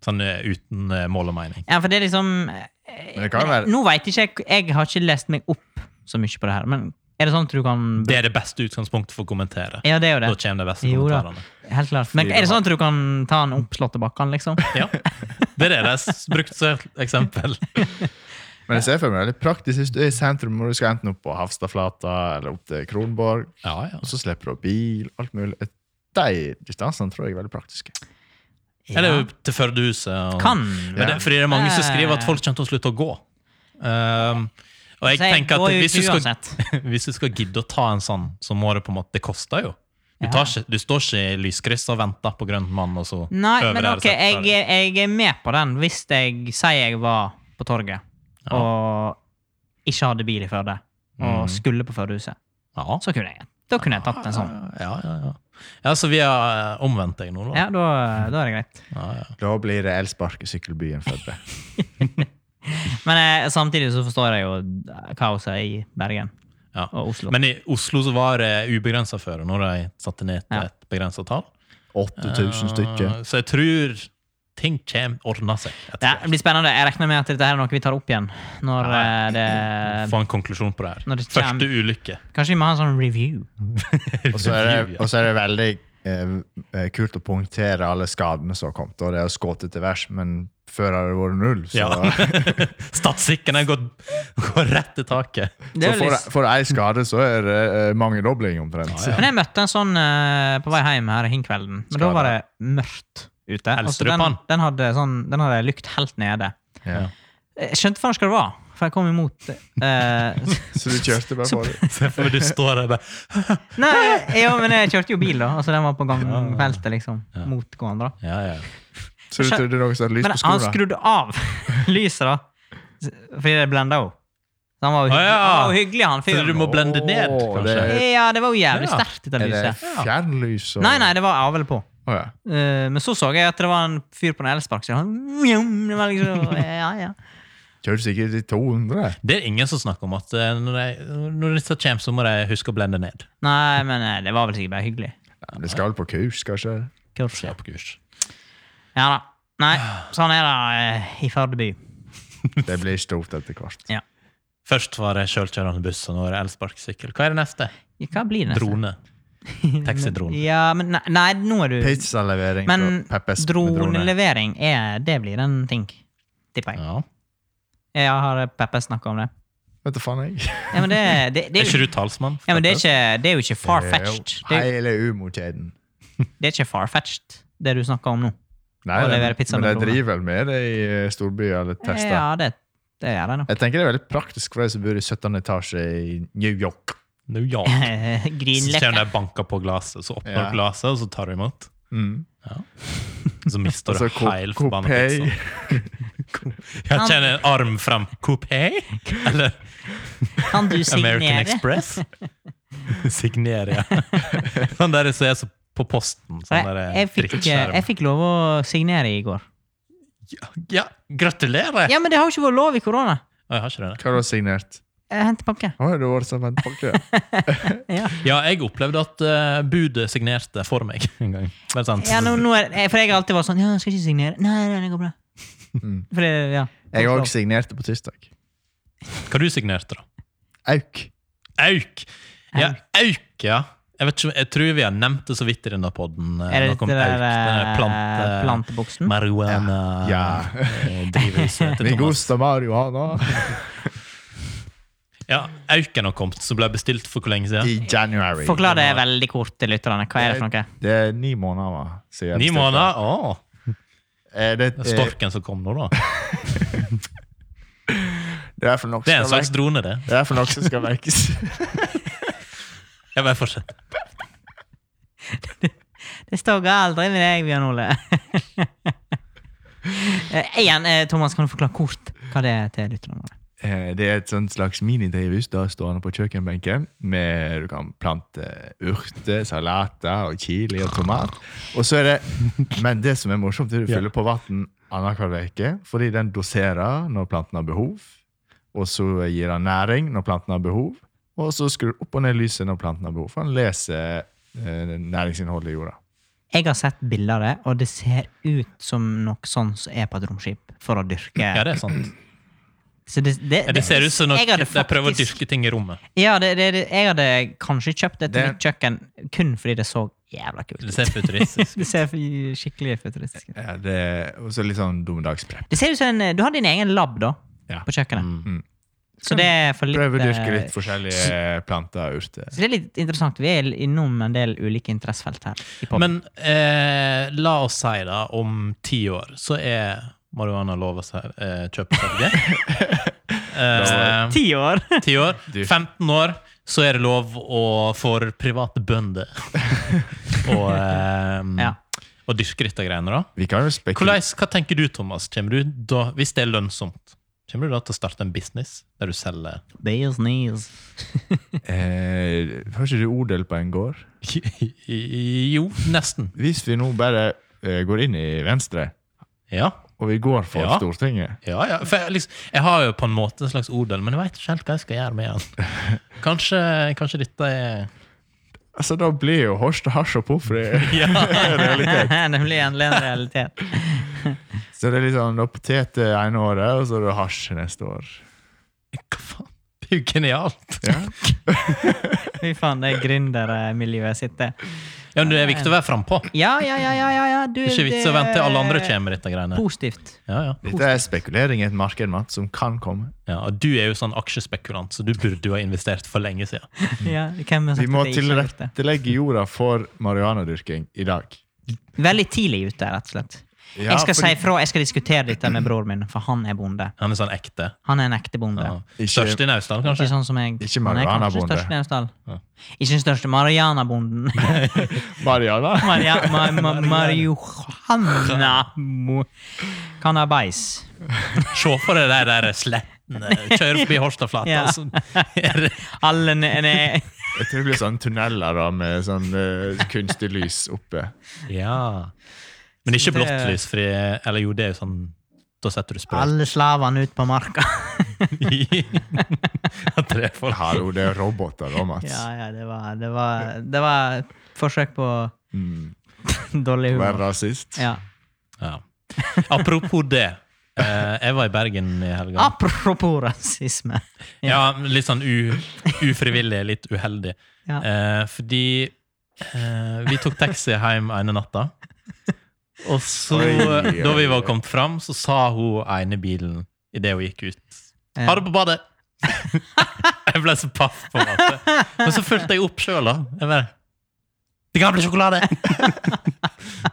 S3: Sånn eh, uten eh, mål og mening.
S2: Ja, for det er liksom eh,
S1: Men det kan jo være-
S2: Nå veit ikke jeg Jeg har ikke lest meg opp så mye på det her, men er det sånn at du kan
S3: Det er det beste utgangspunktet for å kommentere.
S2: Ja, det er jo
S3: Da
S2: det.
S3: kommer de beste
S2: Jo da.
S3: kommentarene.
S2: Helt klart. Men er det sånn at du kan ta den oppslåtte bakken, liksom?
S3: Ja. Det er det de har brukt som et eksempel.
S1: Men jeg ser for meg det er litt praktisk hvis du er i sentrum og du skal enten opp på Hafstadflata eller opp til Kronborg,
S3: Ja, ja.
S1: og så slipper du opp bil, alt mulig. De distansene tror jeg er veldig praktiske.
S3: Eller jo til Førdehuset. og-
S2: Kan Eh.
S3: Men det,
S1: Ja.
S3: fordi det er mange som skriver at folk kommer til å slutte å gå. Um, og jeg
S2: Så jeg
S3: tenker
S2: går
S3: at
S2: jo
S3: hvis
S2: ut
S3: du, skal,
S2: uansett.
S3: hvis du skal gidde å ta en sånn, så må det på en måte Det koster jo. Du, tar ikke, du står ikke i lyskryss og venter på grønn mann, og så
S2: Nei,
S3: øver
S2: men
S3: dere
S2: ok,
S3: seg
S2: jeg,
S3: der.
S2: jeg er med på den hvis jeg sier jeg var på torget
S3: Ja.
S2: og ikke hadde bil i Førde, og
S3: Mm.
S2: skulle på Førdehuset.
S3: ja.
S2: Så kunne jeg Da kunne jeg tatt en sånn.
S3: Ja, ja, ja. ja, så vi har eh, omvendt deg nå, da.
S2: Ja, da, da er det greit.
S3: Ja, ja.
S1: Da blir det elsparkesykkelbyen Førde.
S2: Men eh, samtidig så forstår jeg jo kaoset i Bergen
S3: Ja.
S2: og Oslo.
S3: Men i Oslo så var det ubegrensa før, og når de satte ned til
S2: Ja.
S3: et begrensa tall.
S1: 8000 stykker.
S3: Eh, Så jeg tror ting kommer ordna seg. etter
S2: ja,
S3: hvert.
S2: det blir spennende. Jeg regner med at dette her er noe vi tar opp igjen når eh, det
S3: Få en konklusjon på det her.
S2: Når det kjem-
S3: Første ulykke.
S2: Kanskje vi må ha en sånn review.
S1: Og så er det, og så er det veldig eh, kult å punktere alle skadene som har kommet. Og det er skutt til værs, men før har det vært null. Så,
S3: Ja. Statistikken har gått, går rett til taket.
S2: Det
S1: så
S2: er jo
S1: for,
S2: litt-
S1: for ei skade så er det eh, mangedobling, omtrent.
S3: Ja,
S2: Men jeg møtte en sånn eh, på vei hjem her hinkvelden. Men da
S1: Skada.
S2: var det mørkt ute. Altså, den,
S3: Elstrupan.
S2: den, hadde sånn, den hadde lykt helt nede.
S1: Ja.
S2: Jeg skjønte faen ikke hva det var, for jeg kom imot eh,
S1: Så du kjørte bare for det.
S3: Se for deg du står der bare
S2: Nei, jo, men jeg kjørte jo bil, da. Altså, den var på gangfeltet, liksom.
S3: Ja.
S2: Mot hverandre.
S3: Ja, ja.
S1: Så du trodde noen som hadde lys
S2: Men
S1: på
S2: han
S1: skoene?
S2: skrudde av lyset, da. Fordi det blenda henne. Så han var jo
S3: Å,
S2: hyggelig,
S3: ja.
S2: han var jo hyggelig han
S3: Så du
S2: fyren.
S3: må blende ned,
S1: Åh, det-
S3: kanskje?
S2: Ja, det var jo jævlig
S3: Ja.
S2: sterkt, dette
S1: Er det
S2: lyset.
S1: fjernlys? Og...
S2: Nei, nei, det var avl på.
S1: Å, ja.
S2: Eh, men så så jeg at det var en fyr på en elspark. Så sånn, han, mjau, "Mm, det var liksom, ja, ja.
S1: Kjørte sikkert i 200.
S3: Det er ingen som snakker om at eh, når, de, når disse kommer, så må de huske å blende ned.
S2: Nei, men eh, det var vel sikkert bare hyggelig.
S1: Det skal vel på kurs, kanskje?
S2: Kurs.
S3: Ja, på kurs.
S2: Ja da. Nei, sånn er det eh, i Førde by.
S1: Det blir stort etter hvert.
S3: Først var det sjølkjørende buss, og nå er det elsparkesykkel. Hva er det neste?
S2: Hva blir det? neste?
S3: Drone. Taxidrone.
S2: Ja, men nei, nei, nå er du
S1: Pizzalevering fra
S2: Men
S1: Peppes med drone.
S2: dronelevering, er, det blir en ting. Tipper jeg.
S3: Ja.
S2: Jeg har eh, Peppe snakka om det.
S1: Vet du faen, jeg.
S2: Ja, men det, det, det, er,
S3: Er
S2: jo,
S3: ikke du talsmann?
S2: ja, men det, er, ikke, det er jo ikke far-fetched.
S1: Det er jo
S2: Det, er jo-
S1: Hele humorkjeden.
S2: det er ikke far-fetched, det du snakker om nå.
S1: Nei,
S2: Og
S1: det-
S2: levere pizza
S1: men
S2: med
S1: de
S2: drone.
S1: driver vel med det i eh, storbyer eller tester.
S2: Ja, det, det gjør det nok.
S1: Jeg tenker det er veldig praktisk for de som bor i 17. etasje i New York.
S3: New York. Så
S2: Grinløkke.
S3: kommer de og banker på glasset, så åpner
S1: Ja.
S3: du glasset, og så tar du imot.
S1: Mm.
S3: Så mister du
S1: Altså, ko-
S3: hele forbanna
S1: Coupé
S3: pizzaen. Jeg kjenner en arm frem. Coupé? Eller
S2: Kan du
S3: American
S2: signere?
S3: Express? Signere, ja. Sånn der som er så på posten. Sånn
S2: Jeg,
S3: der
S2: jeg, fikk, eh,
S3: drittskjerm.
S2: jeg fikk lov å signere i går.
S3: Ja, gratulerer!
S2: Ja, men det har jo ikke vært lov i korona.
S3: Å, Jeg har ikke det.
S1: Hva har du signert?
S2: Jeg henter pakke.
S1: Å, det var som en pakke.
S2: Ja.
S3: Ja, jeg opplevde at eh, budet signerte for meg en gang. Men sant.
S2: Ja, nå, nå er, eh, for jeg har alltid vært sånn Ja, jeg skal ikke signere. Nei, nei, det går bra.
S1: Mm.
S2: For det, ja.
S1: Jeg òg signerte på tirsdag.
S3: Hva du signerte, da?
S1: Auk.
S3: Auk! Ja, auk, ja. Jeg, vet ikke, jeg tror vi har nevnt det så vidt i denne podden. eh,
S2: Er det
S3: noe om
S2: dette
S3: auk,
S2: der
S3: denne
S2: eh,
S3: plante,
S2: planteboksen?
S3: Marihuana
S1: Ja.
S3: eh, drivhuset til
S1: Me
S3: Thomas.
S1: gusta marihuana.
S3: Ja, Auken har kommet, som ble bestilt for hvor lenge siden?
S1: I january.
S2: Forklar det veldig kort til lytterne. Hva er det for noe?
S1: Det er ni måneder va, siden. jeg
S3: Ni
S1: bestilte.
S3: måneder? Åh,
S1: Eh, Det,
S3: det
S1: det,
S3: er storken som kom nå, da.
S1: det er for noe
S3: Det er
S1: som skal
S3: en slags
S1: vekk-
S3: drone, det.
S1: det er for noe som skal vekkes.
S3: Jeg bare fortsetter.
S2: Det står aldri med deg, Bjørn Ole. Eh, Igjen, eh, Thomas, kan du forklare kort hva det er til lytterne våre?
S1: Eh, Det er et sånt slags minidrivhus da, stående på kjøkkenbenken. Med, du kan plante urter, salater og chili og tomat. Og så er det, men det som er morsomt, er at du
S3: Ja.
S1: fyller på vann annenhver uke. Fordi den doserer når planten har behov. Og så gir den næring når planten har behov. Og så skrur du opp og ned lyset når planten har behov. For den leser eh, næringsinnholdet i jorda.
S2: Jeg har sett bilder av det, og det ser ut som noe sånn som er på et romskip for å dyrke.
S3: Ja, det er sant.
S2: Så det, det,
S3: Ja, det ser ut som noe
S2: jeg hadde
S3: de prøver å
S2: faktisk-
S3: dyrke ting i rommet.
S2: Ja, det, det, det, jeg hadde kanskje kjøpt et
S1: Det-
S2: nytt kjøkken kun fordi det så jævla kult
S3: Det
S2: ut.
S3: ser futuristisk
S2: Det ser f- skikkelig futuristisk ut.
S1: Ja, det, og så litt sånn dommedagsprepp.
S2: Det ser ut som en, Du har din egen lab da,
S1: Ja.
S2: på kjøkkenet.
S1: Mm.
S2: Så det er for litt
S1: Prøv å dyrke
S2: eh,
S1: litt forskjellige planter og urter.
S2: Så det er litt interessant. Vi er innom en del ulike interessefelt her. i podden.
S3: Men eh, la oss si, da, om ti år, så er marihuana lov å se- eh, kjøpe seg eh,
S2: Ti år!
S3: Ti år.
S1: Du-
S3: 15 år, så er det lov å, for private bønder å eh,
S2: Ja.
S3: å dyrke dette greiene, da.
S1: Vi kan jo spekulere
S3: Hvordan, hva tenker du, Thomas? Kommer du da, hvis det er lønnsomt, kommer du da til å starte en business der du selger
S2: Business.
S1: Eh, har ikke du odel på en gård?
S3: Jo, nesten.
S1: Hvis vi nå bare eh, går inn i Venstre,
S3: Ja.
S1: og vi går for
S3: Ja.
S1: Stortinget
S3: Ja, ja. For jeg, liksom, jeg har jo på en måte en slags odel, men jeg veit ikke helt hva jeg skal gjøre med den. Kanskje, kanskje dette er
S1: Altså Da blir jo Horst og Hasj og Pofri realitet.
S2: Nemlig endelig en realitet.
S1: Så det er liksom da potet det ene året, og så er det hasj neste år.
S3: Hva faen? Det er jo genialt!
S1: Ja.
S2: Fy faen, det gründermiljøet sitt, det.
S3: Ja, men Det er viktig å være frampå.
S2: Ja, ja, ja, ja, ja, ja. Du,
S3: Det er Ikke vits å vente til alle andre kommer med dette greiene.
S2: Positivt.
S3: Ja, ja.
S1: Dette er spekulering i et marked Mats, som kan komme.
S3: Ja, og du er jo sånn aksjespekulant, så du burde jo ha investert for lenge siden.
S2: Ja, hvem har sagt
S1: Vi må
S2: at jeg ikke har gjort det?
S1: tilrettelegge jorda for marihuanadyrking i dag.
S2: Veldig tidlig ute, rett og slett.
S1: Ja,
S2: jeg skal
S1: fordi-
S2: si fra, jeg skal diskutere dette med bror min, for han er bonde.
S3: Han er sånn ekte.
S2: Han er en ekte bonde.
S3: Ja.
S1: Ikke-
S3: Størst i Naustdal,
S2: Ikke
S3: kanskje?
S2: sånn som jeg.
S1: Ikke
S2: Han er kanskje
S1: marihuanabonde.
S2: størst i Naustdal.
S3: Ja.
S2: Ikke den største marihuanabonden.
S1: Marihuana?
S2: Maria, ma, ma, marihuana mo- Cannabis.
S3: Se for deg de der slettene. Kjøre forbi Horstadflata.
S2: Ja.
S3: så er det-
S2: Alle ne, ne,
S1: Jeg tror det blir sånn tunneler da, med sånn eh, kunstig lys oppe.
S3: Ja. Men ikke
S2: Så det-
S3: blått lys, for jeg- eller jo, det er jo sånn Da setter du sprøyt.
S2: alle slavene ut på marka.
S3: At det er folk.
S1: Hallo, det er roboter da, Mats.
S2: Ja, ja, det var, det var, det var forsøk på
S1: Mm.
S2: dårlig
S1: Vær
S2: humor.
S1: rasist.
S2: Ja.
S3: Ja. Apropos det. eh, Jeg var i Bergen i
S2: Ah,
S3: helga.
S2: Apropos rasisme.
S3: Ja, litt sånn u, ufrivillig, litt uheldig.
S2: Ja.
S3: Eh, Fordi eh, vi tok taxi hjem ene natta. Og så,
S1: Oi, oi,
S3: da vi var
S1: oi.
S3: kommet fram, så sa hun ene bilen idet hun gikk ut
S2: Ja.
S3: Ha det på badet! jeg ble så paff på en måte. Men så fulgte jeg opp sjøl, da. Jeg bare, det kan bli sjokolade!
S2: Eh,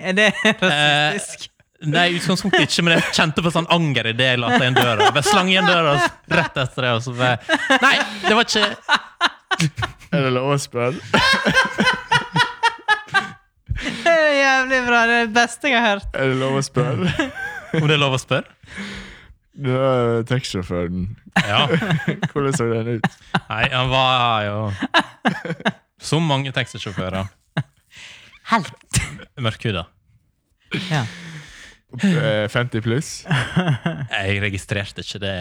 S2: Er det
S3: Eh,
S2: rasistisk?
S3: Nei, i utgangspunktet ikke, men jeg kjente på sånn anger i det jeg la igjen døra. Jeg bare slang igjen døra og så rett etter det, og så bare Nei, det var ikke
S1: Er det lov å spørre?
S2: Det er Jævlig bra. Det er det beste jeg har hørt.
S1: Er det lov å spørre?
S3: Om det er lov å spørre?
S1: Du er taxisjåføren.
S3: Ja.
S1: Hvordan så den ut?
S3: Nei, han var jo Som mange taxisjåfører.
S2: Helt.
S3: Mørkhuda.
S2: Ja.
S1: Eh, 50 pluss?
S3: Jeg registrerte ikke det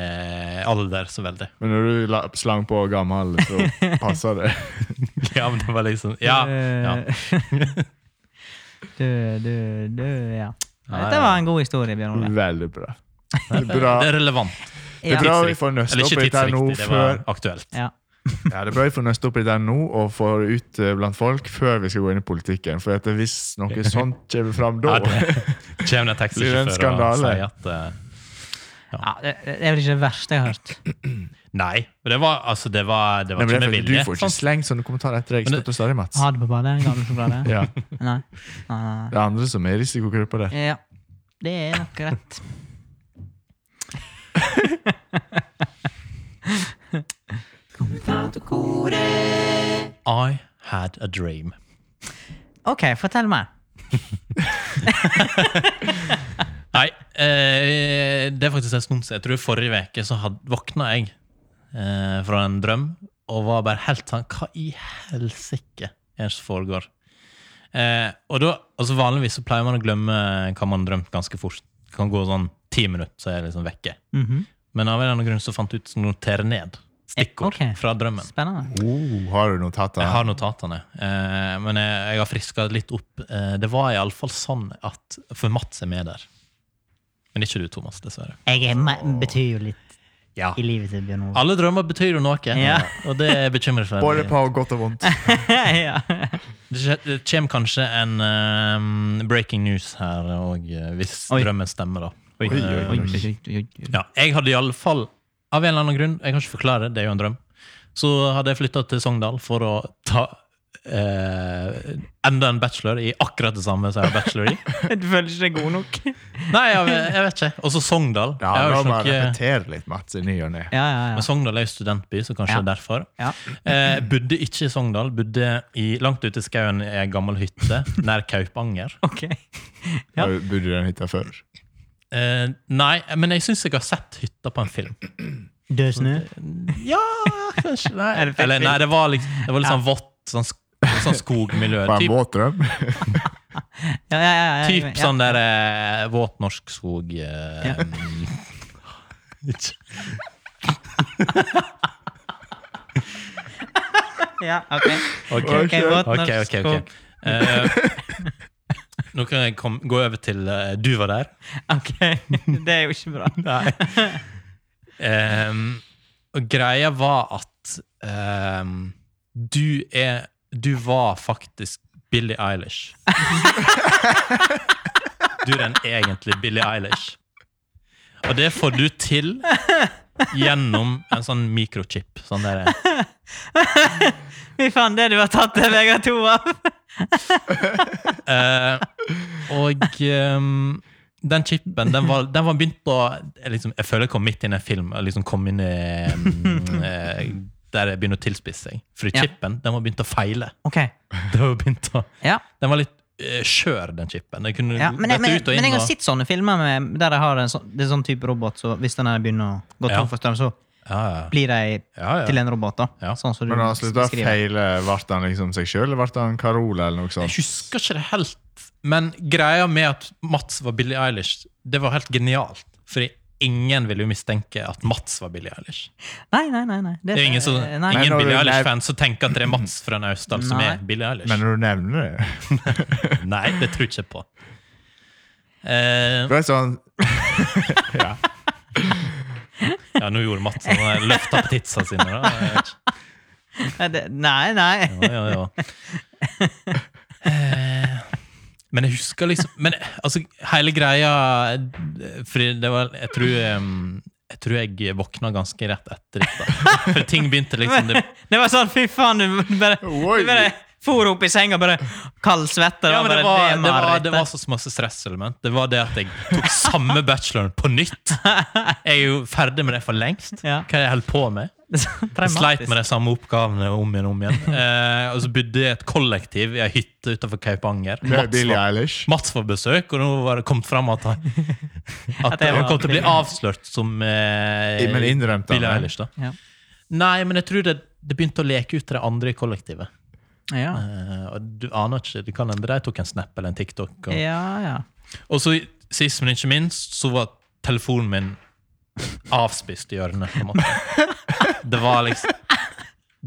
S3: alder så veldig.
S1: Men når du la, slang på gammel, så passer det.
S3: Ja, men det var liksom Ja. ja.
S2: du, du, du, ja.
S3: Nei,
S2: Dette var en god historie, Bjørn Ole.
S1: Veldig bra. Det er bra,
S3: Det er relevant.
S1: det er
S2: Ja.
S1: bra vi får nøste
S3: Eller
S1: opp
S3: ikke
S1: dette her nå
S3: tidsriktig, det
S1: før
S3: var aktuelt.
S2: Ja.
S1: Ja, det er bra vi får nøste opp dette her nå og får det ut eh, blant folk før vi skal gå inn i politikken. For at hvis noe sånt kommer fram da
S3: Ja, det kommer en
S1: Blir det en
S3: taxisjåfør og
S1: skandale?
S3: sier at eh,
S2: Ja, det, det er vel ikke det verste jeg har hørt.
S3: Nei, og det var, altså, det var, det
S1: Nei, men
S3: var
S1: det
S3: ikke
S1: er
S3: med
S1: fordi
S3: vilje.
S1: du får ikke
S3: sant?
S1: slengt sånne kommentarer etter deg.
S3: Men det-
S1: Støtt og stadig, Mats.
S2: Ha det på badet, gammel sjokolade.
S1: Ja,
S2: Nei. Nei, nei,
S1: det er andre som er i risikogruppa der.
S2: nei. Ja, det er nok rett.
S3: I had a dream.
S2: Ok, fortell meg.
S3: Nei, eh, det er faktisk en stund siden. Jeg tror forrige uke så had, våkna jeg eh, fra en drøm og var bare helt sånn Hva i helsike er det som foregår? Eh, og da, altså Vanligvis så pleier man å glemme hva man har drømt, ganske fort. Det kan gå sånn ti minutter, så er jeg liksom vekke.
S2: Mhm.
S3: Men av en eller annen grunn så fant jeg ut å notere ned stikkord
S2: Eh, ok.
S3: fra drømmen.
S2: Spennende.
S1: Oh, har du notater?
S3: Jeg har notatene, eh, men jeg, jeg har friska litt opp. Eh, det var iallfall sånn at For Mats er med der. Men ikke du, Thomas, dessverre.
S2: Jeg er, me- betyr jo litt
S3: Ja.
S2: i livet til Bjørn Ove.
S3: Alle drømmer betyr jo noe,
S2: Ja.
S3: og det er bekymringsfullt.
S1: Både på godt og vondt.
S2: ja.
S3: Det skje- det kommer kanskje en eh, breaking news her òg, hvis
S2: Oi.
S3: drømmen stemmer, da.
S1: Oi, oi,
S2: Oi, oi, oi, oi, oi.
S3: Ja, jeg hadde iallfall, av en eller annen grunn, jeg kan ikke forklare, det er jo en drøm, så hadde jeg flytta til Sogndal for å ta eh, enda en bachelor i akkurat det samme som jeg har bachelor i.
S2: Du føler ikke deg god nok?
S3: Nei, jeg, jeg vet ikke. Og så Sogndal.
S1: Ja,
S3: jeg
S1: La
S3: har jo
S1: meg
S3: ikke noe,
S1: repetere litt, Mats, i ny og ne.
S2: Ja, ja, ja.
S3: men Sogndal er jo studentby, så kanskje
S2: Ja.
S3: det er derfor.
S2: ja.
S3: Eh, bodde ikke i Sogndal, bodde i, langt ute i skauen i ei gammel hytte nær Kaupanger.
S2: Ok. Ja.
S1: Har du- Bodde du i den hytta før?
S3: Eh, nei, men jeg syns jeg har sett hytta på en film.
S2: Død snø?
S3: Ja, kanskje Nei,
S2: Er det fett
S3: Eller, nei det var liksom, det var litt sånn vått, sånn, sk- sånn skogmiljø.
S1: Var det en
S3: Typ,
S1: våt drøm?
S2: Ja, ja, ja, ja.
S3: typ
S2: ja.
S3: sånn der eh, våt norsk skog eh, Ikke-
S2: Ja, ok.
S3: Ok,
S1: Ok,
S2: Ok, våt
S3: ok,
S2: norsk
S3: ok, ok.
S2: skog.
S3: Eh, nå kan jeg kom, gå over til eh, Du var der.
S2: Ok, det er jo ikke bra.
S3: Nei. Ehm, og greia var at ehm, du er Du var faktisk Billie Eilish. Du er den egentlige Billie Eilish. Og det får du til gjennom en sånn mikrochip. Sånn der.
S2: Fy faen, det du har tatt det Vegard to av.
S3: Eh, og ehm, den chipen, den var, den var begynt å jeg liksom, Jeg føler jeg kom midt inn i en film. og Liksom kom inn i, mm, eh, der jeg begynner å tilspisse seg. For
S2: Ja.
S3: chipen den var begynt å feile.
S2: Ok,
S3: Den var, begynt å,
S2: ja.
S3: den var litt eh, skjør, den chipen. Den kunne
S2: ja. Men, jeg- men,
S3: dette
S2: jeg-
S3: ut og
S2: men jeg
S3: inn.
S2: har
S3: Og,
S2: sett sånne filmer med, der jeg har en sånn, det er sånn type robot, så hvis den her begynner å gå
S3: Ja.
S2: tom for strøm, så
S3: ja, ja.
S2: blir de
S3: Ja, ja.
S2: til en robot, da.
S3: Ja.
S2: Sånn som du
S1: Men altså, han slutta å
S2: beskriver.
S1: feile. Ble han liksom seg sjøl, eller ble han Carola, eller noe
S3: Jeg
S1: sånt?
S3: husker ikke det helt, men greia med at Mats var Billie Eilish, det var helt genialt. Fordi ingen ville jo mistenke at Mats var Billie Eilish.
S2: Nei, nei, nei. nei.
S3: Det er ingen, som,
S2: Eh, nei.
S1: Men
S3: ingen
S1: når du-
S3: Billie
S1: nei.
S3: Eilish-fan som tenker at det er Mats fra Naustdal som
S2: Nei.
S3: er Billie Eilish.
S1: Men når du nevner det
S3: Nei, det tror jeg ikke på. Eh,
S1: Det er sånn ja.
S3: ja, nå gjorde Mats han løfta på titsa sine. Da. Jeg vet ikke.
S2: Nei, det- nei, nei.
S3: Ja, ja, ja. Eh, men jeg husker liksom Men altså, hele greia eh, Fordi det var Jeg tror eh, jeg tror jeg våkna ganske rett etter dette. For ting begynte liksom det,
S2: Det var sånn, fy faen, du bare,
S1: Oi.
S2: du bare for opp i senga, bare kald svette.
S3: ja,
S2: da,
S3: men
S2: bare,
S3: det, var, det,
S2: er
S3: var,
S2: marerittet.
S3: det var så masse stresselement. Det var det at jeg tok samme bacheloren på nytt. Jeg er jo ferdig med det for lengst. Hva
S2: Ja.
S3: er det jeg holder på med? Jeg sleit med de samme oppgavene om igjen om igjen. Eh, og så bodde jeg i et kollektiv i ei hytte utenfor Kaupanger.
S1: Med
S3: Mats
S1: Billie
S3: var,
S1: Eilish.
S3: Mats var besøk, og nå var det kommet fram at han At
S2: At jeg
S3: han
S2: var
S3: kom til å bli
S2: Billie.
S3: avslørt som eh,
S1: Men innrømte han
S3: Billie
S1: det?
S3: Eilish, da.
S2: Ja.
S3: Nei, men jeg tror det, det begynte å leke ut til de andre i kollektivet.
S2: Ja,
S3: Eh, og du aner ikke, det kan hende de tok en snap eller en TikTok. Og,
S2: ja. ja.
S3: og så sist, men ikke minst, så var telefonen min avspist i hjørnet. på en måte. Det var liksom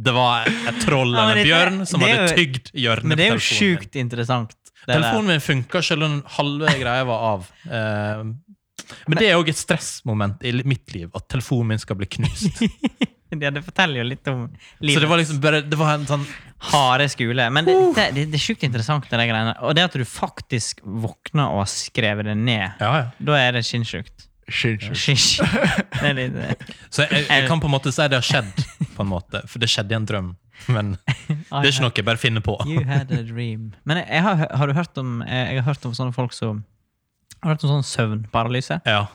S3: Det var et troll
S2: Ja, men
S3: eller en
S2: dette-
S3: bjørn som
S2: det er
S3: hadde
S2: jo-
S3: tygd hjørnet
S2: Men det er
S3: på
S2: jo
S3: telefonen. min.
S2: sjukt interessant. det der.
S3: Telefonen min funka selv om halve greia var av. Eh, men det er òg et stressmoment i mitt liv at telefonen min skal bli knust.
S2: ja, det forteller jo litt om
S3: Så
S2: livet.
S3: det var liksom bare Det var en sånn
S2: Harde skole. Men det, det, det, det er sjukt interessant, det der greiene. Og det at du faktisk våkner og har skrevet det ned,
S3: Ja, ja.
S2: da er det sinnssykt.
S1: Shit.
S2: Hysj. Det er litt eh,
S3: Så jeg, jeg kan på en måte si det har skjedd, på en måte. For det skjedde i en drøm. Men det er ikke noe jeg bare finner på.
S2: You had a dream. Men jeg, jeg har, har du hørt om eh, Jeg har hørt om sånne folk som Har du hørt om sånn søvnparalyse?
S3: Ja.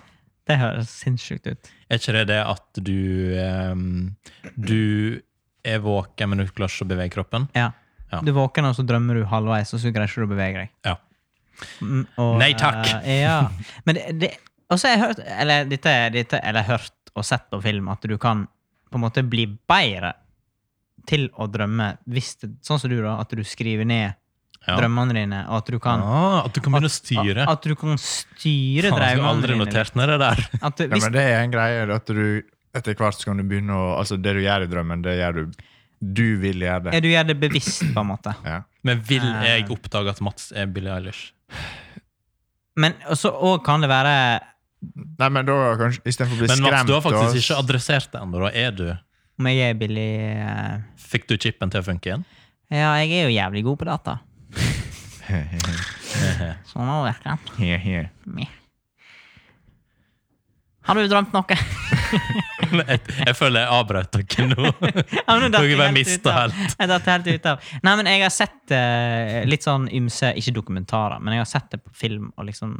S2: Det høres sinnssykt ut.
S3: Er ikke det det at du ehm, Du er våken, men du klarer ikke å bevege kroppen?
S2: Ja.
S3: Ja.
S2: Du våkner, og så drømmer du halvveis, og så greier ikke du å bevege deg.
S3: Ja.
S2: Mm, og,
S3: Nei takk.
S2: eh, ja. Men det, det Og så har jeg hørt eller, dette, er- dette, eller hørt og sett på film at du kan på en måte bli bedre til å drømme hvis det, Sånn som du, da. At du skriver ned
S3: Ja.
S2: drømmene dine, og at du kan
S3: Ah, at du kan begynne å styre.
S2: At du kan styre
S3: Faen, jeg skulle
S2: drømmene
S3: aldri
S2: dine. liksom.
S3: notert ned det der.
S2: At, du-
S1: Ja,
S2: hvis,
S1: men det er en greie det at du etter hvert så kan du begynne å Altså, det du gjør i drømmen, det gjør du Du vil gjøre det.
S2: er du gjør det bevisst, på en måte.
S1: Ja.
S3: Men vil jeg oppdage at Mats er Billie Eilish?
S2: Men så òg kan det være
S1: Nei, men da kanskje Istedenfor å bli
S3: Men
S1: skremt
S3: Mats, du har faktisk
S1: og-
S3: ikke adressert det ennå. da. Er du-
S2: om jeg er billig eh,
S3: Fikk du chipen til å funke igjen?
S2: Ja, jeg er jo jævlig god på data. Sånn har det virka.
S1: He, he.
S2: Meh. Har du drømt noe?
S3: Jeg, jeg føler jeg avbrøt dere nå.
S2: Ja, men nå datt
S3: Dere
S2: jeg
S3: bare
S2: helt
S3: mistet
S2: ut av-
S3: helt.
S2: Jeg datt helt ut av. Nei, men jeg har sett eh, litt sånn ymse, ikke dokumentarer, men jeg har sett det på film og liksom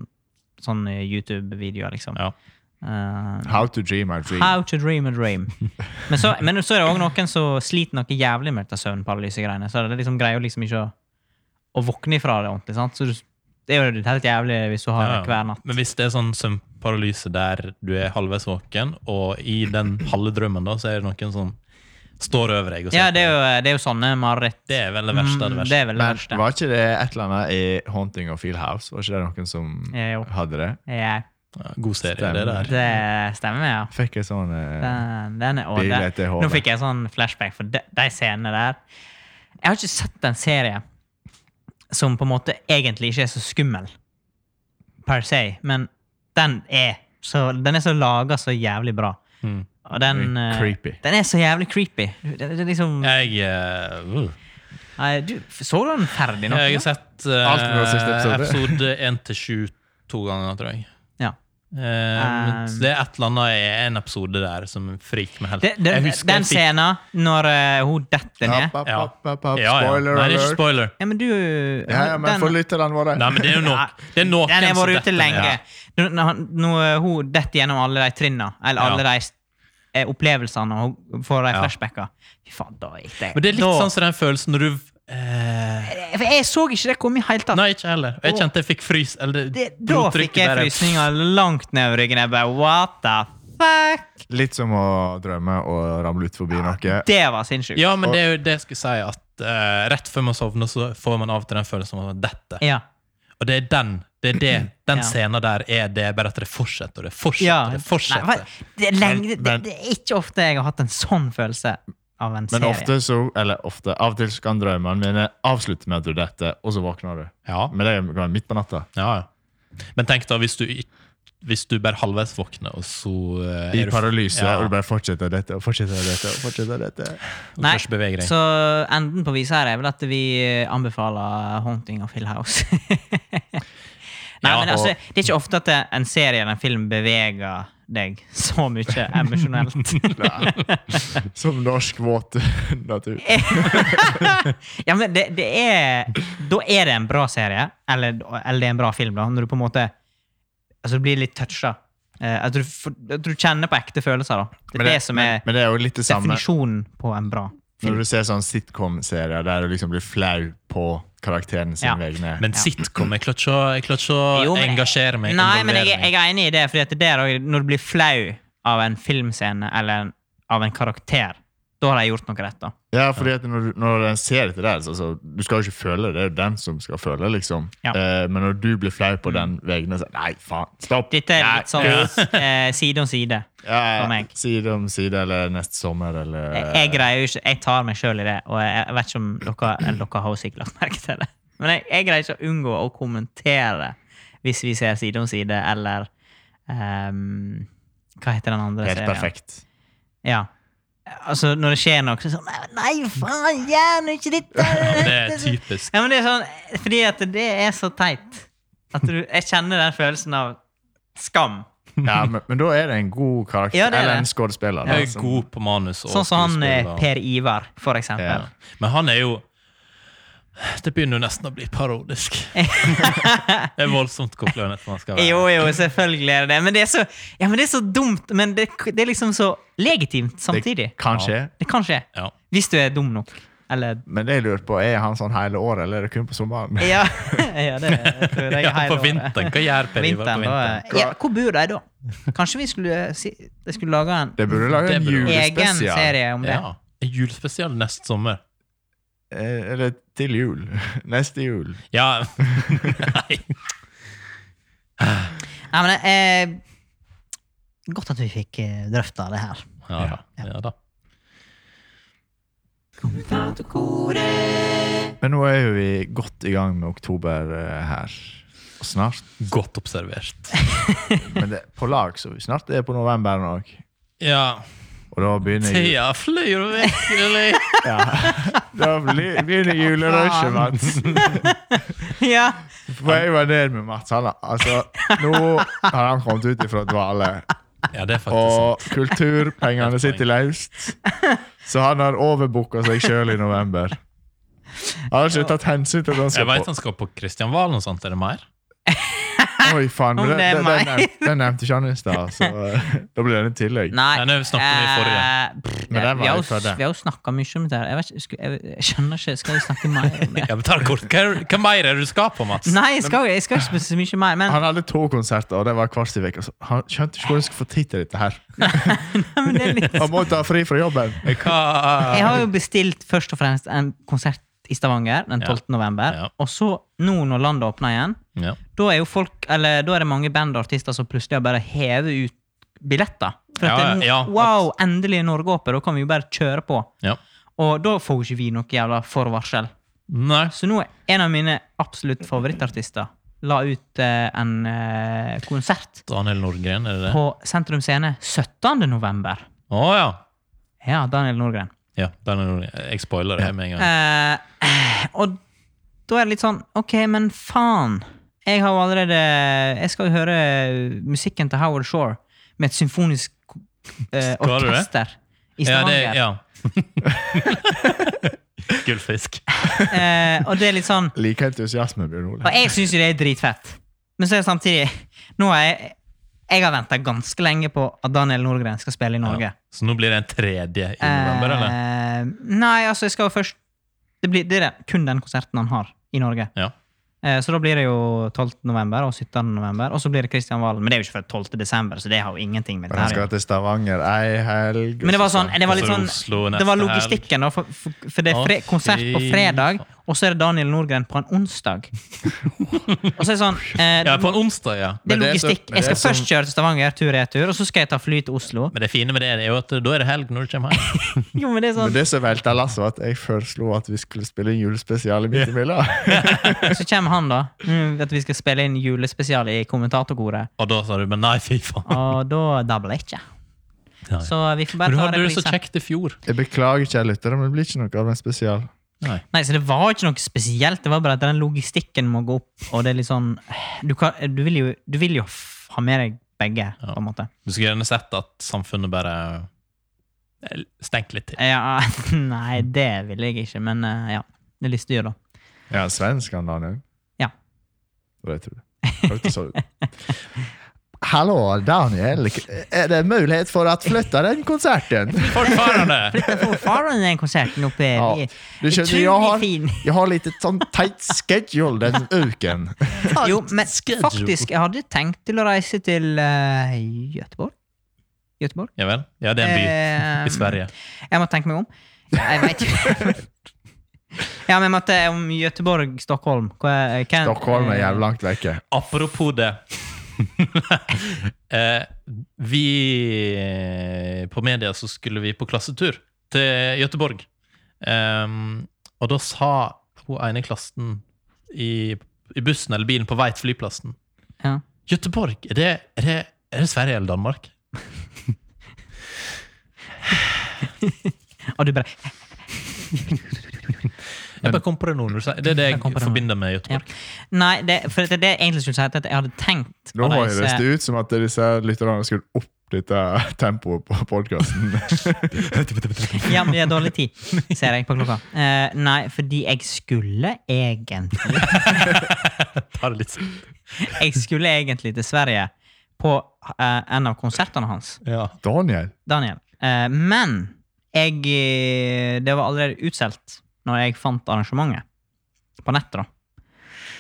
S2: sånn eh, YouTube-videoer, liksom.
S3: Ja.
S2: Eh,
S1: How to dream my dream.
S2: How to dream a dream. Men så, men så er det òg noen som sliter noe jævlig med dette søvnparalysegreiene. Så det liksom greier jo liksom ikke å, å våkne ifra det ordentlig. sant? Så du, det er jo helt jævlig hvis du har det hver natt.
S3: Men hvis det er sånn søvnparalyse der du er halvveis våken, og i den halve drømmen da, så er det noen som står over deg og
S2: Ja,
S3: på
S2: det er
S3: deg.
S2: jo, det er jo sånne mareritt.
S3: det er vel det verste av det
S2: Mm,
S3: verste.
S2: er vel det
S1: Men
S2: verste.
S1: var ikke det et eller annet i Haunting of Feel House? Var ikke det noen som
S2: Ja, jo.
S1: hadde det?
S2: Ja,
S3: Ja, God serie, det der.
S2: det stemmer, ja.
S1: Fikk jeg sånn eh,
S2: Den, den er
S1: Billig
S2: ålreit.
S1: etter hodet.
S2: Nå fikk jeg sånn flashback for de, de scenene der. Jeg har ikke sett en serie som på en måte egentlig ikke er så skummel per se, men den er så, den er så laga så jævlig bra.
S3: Mm.
S2: Og den,
S1: Veldig
S2: eh,
S1: creepy.
S2: den er så jævlig creepy. Det, det, det er liksom
S3: Jeg, eh, uh,
S2: Nei, du, Så du den ferdig nå?
S3: jeg har sett eh,
S1: Alt fra siste episode.
S3: episode 1 til 7 to ganger, tror jeg.
S2: Ja.
S3: Eh, men
S2: Um,
S3: det er et eller annet i en episode der som friker meg helt.
S2: Det, det,
S3: Jeg husker
S2: den
S3: jeg fikk-
S2: scenen når eh, hun detter
S1: App,
S2: ned
S1: app,
S3: Ja.
S1: app, app, app.
S3: Ja, ja.
S1: Spoiler
S3: Nei, det er ikke
S1: alert.
S3: spoiler.
S2: Ja, men du
S1: Ja, ja, men
S2: den-
S1: for lytterne våre.
S3: Nei, men det er jo nok, det er noen
S2: Den har
S3: som
S2: vært
S3: detter
S2: ute
S3: ned.
S2: lenge. Når, når, han- når hun detter gjennom alle de trinna, eller alle
S3: Ja.
S2: de s- eh, opplevelsene, og hun får de
S3: Ja.
S2: flashbacka Fy faen, da gikk det.
S3: Men det er litt
S2: da,
S3: sånn som den følelsen når du eh,
S2: For jeg så ikke det komme i hele tatt.
S3: Nei, ikke heller. Jeg kjente jeg fikk frys. Eller
S2: Det, da fikk jeg
S3: blodtrykket der.
S2: frysninger langt ned over ryggen. Jeg bare what the fuck?
S1: Litt som å drømme og ramle ut forbi noe.
S2: Det var sinnssykt.
S3: Ja, men det er jo det jeg skulle si, at eh, rett før man sovner, så får man av og til den følelsen av at dette.
S2: Ja.
S3: Og det er den. Det er det. Den
S2: Ja.
S3: scenen der er det, bare at det fortsetter og det fortsetter.
S2: Ja.
S3: og Det
S2: Nei,
S3: fortsetter.
S2: hva- det, er lenge, det,
S1: Men-
S2: det er ikke ofte jeg har hatt en sånn følelse av en
S1: Men
S2: serie.
S1: ofte så, eller ofte, av og til så kan drømmene mine avslutte med at du detter, og så våkner du.
S3: Ja.
S1: Men det kan være midt på natta.
S3: ja. ja. Men tenk da, hvis du, i- hvis du bare halvveis våkner, og så eh,
S1: I
S3: er du
S1: paralyse,
S3: Ja.
S1: og du bare fortsetter å dette og fortsetter å dette. og fortsetter å dette.
S3: og kanskje beveger deg.
S2: så enden på visa her er vel at vi anbefaler 'Haunting of Hill House'. Nei,
S3: Ja,
S2: men altså, Det er ikke ofte at en serie eller en film beveger deg så mye emosjonelt.
S1: Som norsk våt natur.
S2: ja, men det, det er Da er det en bra serie, eller, eller det er en bra film, da, når du på en måte altså, du blir litt toucha. Eh, at, du, får- at du kjenner på ekte følelser. da. Det er det, som er
S1: men det er jo litt det samme
S2: definisjonen på en bra
S1: når du ser sånn sitcom-serier der du liksom blir flau på karakteren sin
S2: Ja.
S1: vegne.
S3: Men sitcom Jeg klarer ikke å- jeg klarer ikke å
S2: Jo, men-
S3: engasjere meg.
S2: Nei, men
S3: involvere
S2: jeg, jeg er enig i det, fordi at det er også- når du blir flau av en filmscene eller en, av en karakter, da har de gjort noe rett, da.
S1: Ja, fordi at når, du- når en ser dette der, så, så du skal jo ikke føle det, det er jo den som skal føle, liksom.
S2: Ja.
S1: Eh, men når du blir flau på den vegne, så nei, faen, stopp!
S2: Dette er litt
S1: Nei,
S2: sånn eh, side om side for
S1: Ja,
S2: meg.
S1: side om side, eller neste sommer, eller
S2: Jeg, jeg
S3: Eh.
S2: greier jo ikke, jeg tar meg sjøl i det, og jeg, jeg vet ikke om dere, eller dere har jo sikkert lagt merke til det, men jeg, jeg greier ikke å unngå å kommentere hvis vi ser side om side, eller ehm, Hva heter den andre
S1: Helt perfekt.
S2: Ja. Altså, når det skjer noe, så er det sånn Nei, nei, faen, gjør nå ikke dette!
S3: Det er typisk.
S2: Ja, men det er sånn, fordi at det er så teit. At du, jeg kjenner den følelsen av skam.
S1: Ja, men, men da er det en god karakter,
S2: Ja, det er
S1: eller
S2: det.
S1: en skuespiller. da,
S3: Jeg er
S1: som-
S3: god på manus. og
S2: Sånn som han eh,
S3: skuespiller.
S2: Per Ivar, for eksempel.
S1: Ja.
S3: Men han er jo Det begynner jo nesten å bli parodisk. det er voldsomt hvor klønete man skal være.
S2: Jo, jo, selvfølgelig er det det. Men det er så, ja, men det er så dumt, men det, det er liksom så legitimt samtidig.
S1: Det kan skje.
S2: Det kan skje.
S3: Ja.
S2: Hvis du er dum nok. Eller
S1: Men det jeg lurer på, er han sånn hele året, eller er det kun på sommeren?
S2: Ja, ja det tror jeg
S3: ja,
S2: er
S3: på vinteren. Hva gjør Per Ivar på
S2: Vinteren, da,
S3: vinteren?
S2: eh, ja, hvor bor de da? Kanskje vi skulle, eh, si, jeg skulle lage en
S1: Det burde lage
S3: Det
S1: en
S3: burde-
S2: egen
S1: julespesial.
S2: serie om det?
S3: Ja. En julespesial neste sommer.
S1: Eh, Eller til jul. Neste jul.
S3: Ja Nei.
S2: Nei, men eh, Godt at vi fikk eh, drøfta det her.
S3: Ja da. Ja, da.
S1: Men nå er jo vi godt i gang med oktober eh, her. Og snart.
S3: Godt observert.
S1: Men det, på lag, så vi snart er på november òg.
S3: Ja.
S1: Og da begynner jul.
S3: Tida flyr vekk, eller?
S1: Ja. Da blir- begynner julerushet, Mats.
S2: ja.
S1: For jeg var der med Mats. Han, har- altså, nå har han kommet ut ifra dvale.
S3: Ja, det er faktisk sant.
S1: Og kulturpengene sitter løst. Så han har overbooka seg sjøl i november. Han har ikke tatt hensyn til at han
S3: Jeg
S1: skal
S3: veit
S1: på
S3: han skal på Kristian Valen og sånt. Er det mer?
S1: Oi, faen. Men
S2: Om
S1: den,
S2: det er
S1: den,
S2: meg.
S1: den, nevnte, den nevnte ikke han i stad, så eh, da blir den et tillegg.
S2: Nei.
S3: Nei, nå snakket vi i forrige.
S2: eh, pff,
S1: Men den var
S2: vi har
S1: jo
S2: jo-
S1: før det.
S2: Vi har jo snakka mye om det her. Jeg, vet, ikke, skulle- jeg, jeg skjønner ikke Skal vi snakke mer om det?
S3: Ja, men ta det kort. Hva, er- hva mer er det du skal på, Mats?
S2: eh, Nei, jeg skal, jeg skal ikke så mye mer. Men
S1: Han hadde to konserter, og det var hver sin uke. så Han skjønte ikke hvordan han skulle få tid til dette her.
S2: Men det er litt...
S1: Han må ta fri fra jobben.
S3: Hva
S2: Jeg har jo bestilt først og fremst en konsert i Stavanger den
S3: Ja.
S2: 12. november.
S3: Ja.
S2: Og så, nå når landet åpner igjen,
S3: ja.
S2: da er jo folk, eller da er det mange band og artister som plutselig har bare hevet ut billetter. For at
S3: Ja,
S2: det, er
S3: ja,
S2: no- wow, endelig er Norge åpen, da kan vi jo bare kjøre på.
S3: ja.
S2: Og da får jo ikke vi noe jævla forvarsel.
S3: Nei.
S2: Så nå er en av mine absolutt favorittartister la ut eh, en eh, konsert
S3: Daniel Nordgren, er det det?
S2: på Sentrum Scene 17. november.
S3: Å ja.
S2: Ja, Daniel Nordgren.
S3: ja. Daniel Nordgren. Jeg spoiler det med en gang.
S2: Eh, og da er det litt sånn Ok, men faen. Jeg har jo allerede Jeg skal jo høre musikken til Howard Shore med et symfonisk eh,
S3: Skal du det?
S2: orkester i
S3: Ja, det,
S2: Stavanger.
S3: ja. Gullfisk.
S2: Eh, og det er litt sånn
S1: Like entusiasme, Bjørn Ole.
S2: Og jeg syns jo det er dritfett. Men så er det samtidig Nå har jeg jeg har venta ganske lenge på at Daniel Nordgren skal spille i Norge.
S3: Ja. Så nå blir det en tredje i november, eller?
S2: Eh, nei, altså, jeg skal jo først Det, blir, det er det- kun den konserten han har i Norge.
S3: Ja.
S2: Eh, Så da blir det jo 12. november og 17. november, og så blir det Kristian Valen. Men det er jo ikke før 12. desember, så det har jo ingenting med
S1: Og han
S2: det her å
S1: skal
S2: gjøre.
S1: til Stavanger ei helg.
S2: Men det var sånn, det var litt
S3: Og så
S2: sånn,
S3: Oslo neste
S2: det var
S3: helg.
S2: logistikken, da. For, for, for det er
S3: Å,
S2: fre, konsert på
S3: fy
S2: fredag,
S3: faen.
S2: og så er det Daniel Nordgren på en onsdag. Og så er det sånn eh,
S3: Ja, på en onsdag, ja.
S1: Men
S2: Det
S1: det er
S2: er
S1: så-
S2: logistikk.
S1: men det er
S2: Jeg skal
S1: som-
S2: først kjøre til Stavanger tur-retur, og så skal jeg ta fly til Oslo.
S3: Men det fine med det er jo at da er det helg når du kommer hjem.
S2: Jo, men det
S1: Men
S2: er sånn,
S1: det som velta lasset, var at jeg foreslo at vi skulle spille en julespesial i midt imellom.
S2: Så kommer han, da. mm, At vi skal spille inn julespesial i kommentatorkoret.
S3: Og da sa du men nei, fy faen.
S2: Og da dabler jeg ikke.
S3: Nei.
S2: Så vi får
S3: Men
S2: bare
S3: du
S2: ta
S3: hadde det så
S2: reprisen.
S3: kjekt i fjor.
S1: Jeg beklager, kjære lyttere, men det blir ikke noe av en spesial.
S3: Nei.
S2: Nei, så det var ikke noe spesielt. Det var bare at den logistikken må gå opp, og det er litt sånn Du, kan, du, vil, jo, du vil jo f- ha med deg begge,
S3: Ja.
S2: på en måte.
S3: Du skulle gjerne sett at samfunnet bare eh, stengt litt til.
S2: Ja, nei, det vil jeg ikke, men eh, ja. Det er litt styr, da.
S1: Ja, svensk han Daniel.
S2: Ja.
S1: Det var det jeg trodde. Hørte så ut. Hallo, Daniel. Er det mulighet for å flytte den konserten?
S3: Fortfarande!
S2: Flytta forfaren den konserten oppe
S1: Ja,
S2: i
S1: du skjønner, jeg
S2: Utrolig
S1: har,
S2: fin.
S1: jeg har litt sånn tight schedule den uken.
S2: Jo, men
S3: schedule.
S2: faktisk, jeg hadde tenkt til å reise til eh, Göteborg. Göteborg?
S3: Ja vel? Ja, det er en by
S2: Eh,
S3: i Sverige.
S2: Jeg må tenke meg om. Jeg vet ikke. ja, men jeg måtte om Göteborg, Stockholm. Hva, hva,
S1: Stockholm er jævlig langt vekke.
S3: Apropos det. eh, vi På media så skulle vi på klassetur til Gøteborg. Ehm, og da sa hun ene i klassen i, i bussen eller bilen på vei til flyplassen
S2: Ja.
S3: Gøteborg, er det, er, det, er det Sverige eller Danmark?
S2: Og du bare
S3: Jeg bare kom på det nå. når du sier- Det er det jeg
S2: Jeg kom på det nå.
S3: forbinder med
S2: Ja.
S3: Göteborg.
S2: Nei, det, for det, er det jeg egentlig skulle si er at jeg hadde tenkt å
S1: Nå høres
S2: reise-
S1: det ut som at disse lytterne skulle opp dette tempoet äh, på podkasten.
S2: Ja, men vi har dårlig tid, ser jeg på klokka. Eh, nei, fordi jeg skulle egentlig
S3: Ta det litt sånn. s-
S2: Jeg skulle egentlig til Sverige på eh, en av konsertene hans,
S3: Ja.
S1: Daniel,
S2: Daniel. Eh, men jeg eh, Det var allerede utsolgt når jeg fant arrangementet. På nettet, da.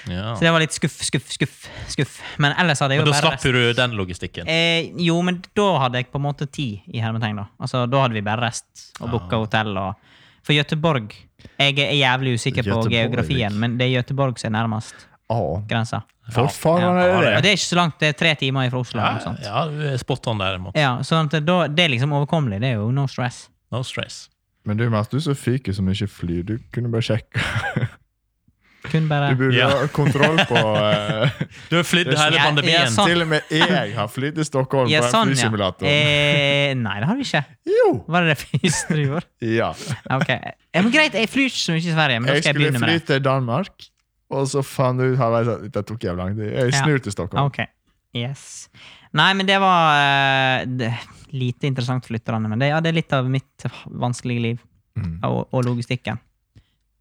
S3: Ja.
S2: Så det var litt skuff, skuff, skuff. skuff. Men ellers hadde jeg
S3: Men
S2: jo
S3: da
S2: bare
S3: slapp du den logistikken.
S2: Eh, jo, men da hadde jeg på en måte tid i hermetegn. Da Altså, da hadde vi bare rest og booka hotell. Og... For Gøteborg Jeg er jævlig usikker på
S1: Göteborg.
S2: geografien, men det er Gøteborg som er nærmest
S1: ah,
S2: grensa.
S1: for faen
S3: Ja,
S1: er
S2: Og
S1: det det?
S2: det er ikke så langt. Det er tre timer fra Oslo. eller noe
S3: Ja,
S2: sånt.
S3: ja, du er spot on der. Mats.
S2: Ja, sånn at da, det er liksom overkommelig. Det er jo no stress.
S3: No stress.
S1: Men du Mats, du som fyker som ikke flyr, du kunne bare sjekke.
S2: Kun bare
S1: Du burde
S3: Ja.
S1: ha kontroll på eh,
S3: Du har flydd
S1: Det er
S2: så-
S3: hele
S2: Ja, ja,
S3: pandemien.
S2: sånn.
S1: Til og med jeg har flydd til Stockholm
S2: ja,
S1: på en
S2: sånn, ja.
S1: flysimulator.
S2: Eh, nei, det har vi ikke.
S1: Jo!
S2: Var det det første du gjorde?
S1: Ja.
S2: Ok, ja, men Greit, jeg flyr ikke så mye i Sverige, men da
S1: Jeg
S2: skal jeg
S1: skulle
S2: begynne med
S1: fly
S2: det.
S1: til Danmark, og så fant jeg ut halvveis at det tok jævlig lang tid. Jeg
S2: Ja.
S1: snur til Stockholm.
S2: Ok. Yes. Nei, men det var eh, det, lite interessant for lytterne. Men det, ja, det er litt av mitt vanskelige liv
S1: Mm.
S2: og, og logistikken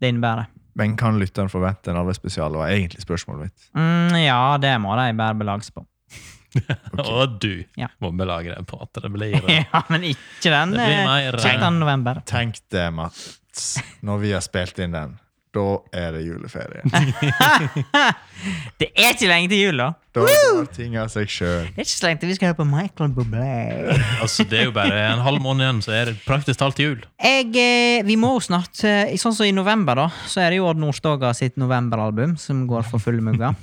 S2: det innebærer.
S1: Men kan lytteren forvente en alle spesial? var egentlig spørsmålet mitt.
S2: Mm, ja, det må de bære belags på.
S3: Og du
S2: Ja.
S3: må belage deg på at det blir
S2: ja, men ikke den
S3: Det blir
S2: eh,
S3: mer, eh,
S2: 13. november.
S1: Tenk det, Mats. Når vi har spilt inn den, da er det juleferie.
S2: Det er ikke lenge til jul, da!
S1: Da går ting av seg sjøl.
S2: Det er ikke så lenge til vi skal høre på Michael Bublé.
S3: Altså, Det er jo bare en halv måned igjen, så er det praktisk talt jul.
S2: Jeg, eh, vi må jo snart eh, i- Sånn som i november, da, så er det jo Odd Nordstoga sitt novemberalbum som går for fulle mugger.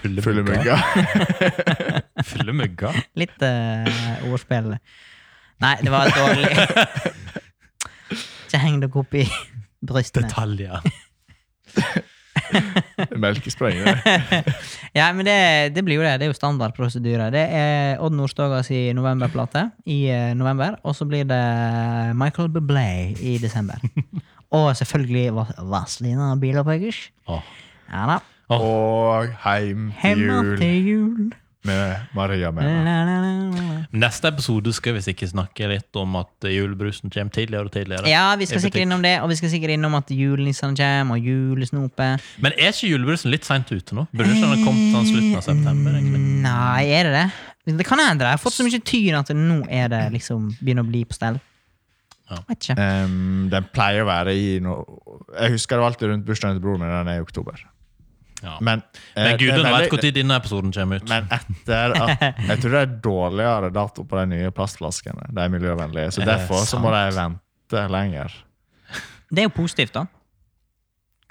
S3: Fulle
S1: Fulle mugger.
S3: Fulle mugger.
S2: Litt eh, ordspill. Nei, det var dårlig. Ikke heng dere opp i brystene.
S3: Detaljer.
S1: Melkespreng. det.
S2: Ja, men det, det blir jo det. Det er jo standardprosedyre. Det er Odd Nordstoga si novemberplate i eh, november, og så blir det Michael Bublé i desember. Og selvfølgelig Vas- Vazelina Bilopphøggers.
S3: Åh.
S2: Ja da.
S1: Og heim til
S2: Hjemme
S1: jul
S2: til jul.
S1: med Maria Mena.
S2: La, la, la, la.
S3: Neste episode skal vi sikkert snakke litt om at julebrusen kommer tidligere og tidligere.
S2: Ja, vi
S3: i
S2: skal
S3: butikk.
S2: sikkert innom det, og vi skal sikkert innom at julenissene kommer, og julesnopet.
S3: Men er ikke julebrusen litt seint ute nå? Burde ikke den ha kommet sånn slutten av september?
S1: Mm.
S3: egentlig?
S2: Mm, Nei, er det det? Det kan hende. det. Jeg har fått så mye tyn at nå er det liksom begynner å bli på stell.
S3: Mm. Ja.
S1: Eh.
S2: Vet ikke.
S1: Em, den pleier å være i no... Jeg husker det var alltid rundt bursdagen til broren min, den er i oktober.
S3: Ja. Men,
S1: Men, eh, det er
S3: gudene
S1: veldig-
S3: vet når denne episoden kommer ut.
S1: Men etter at Jeg tror det er dårligere dato på de nye plastflaskene. De er miljøvennlige. Så
S3: Er det
S1: derfor så må de vente lenger.
S2: Det er jo positivt, da.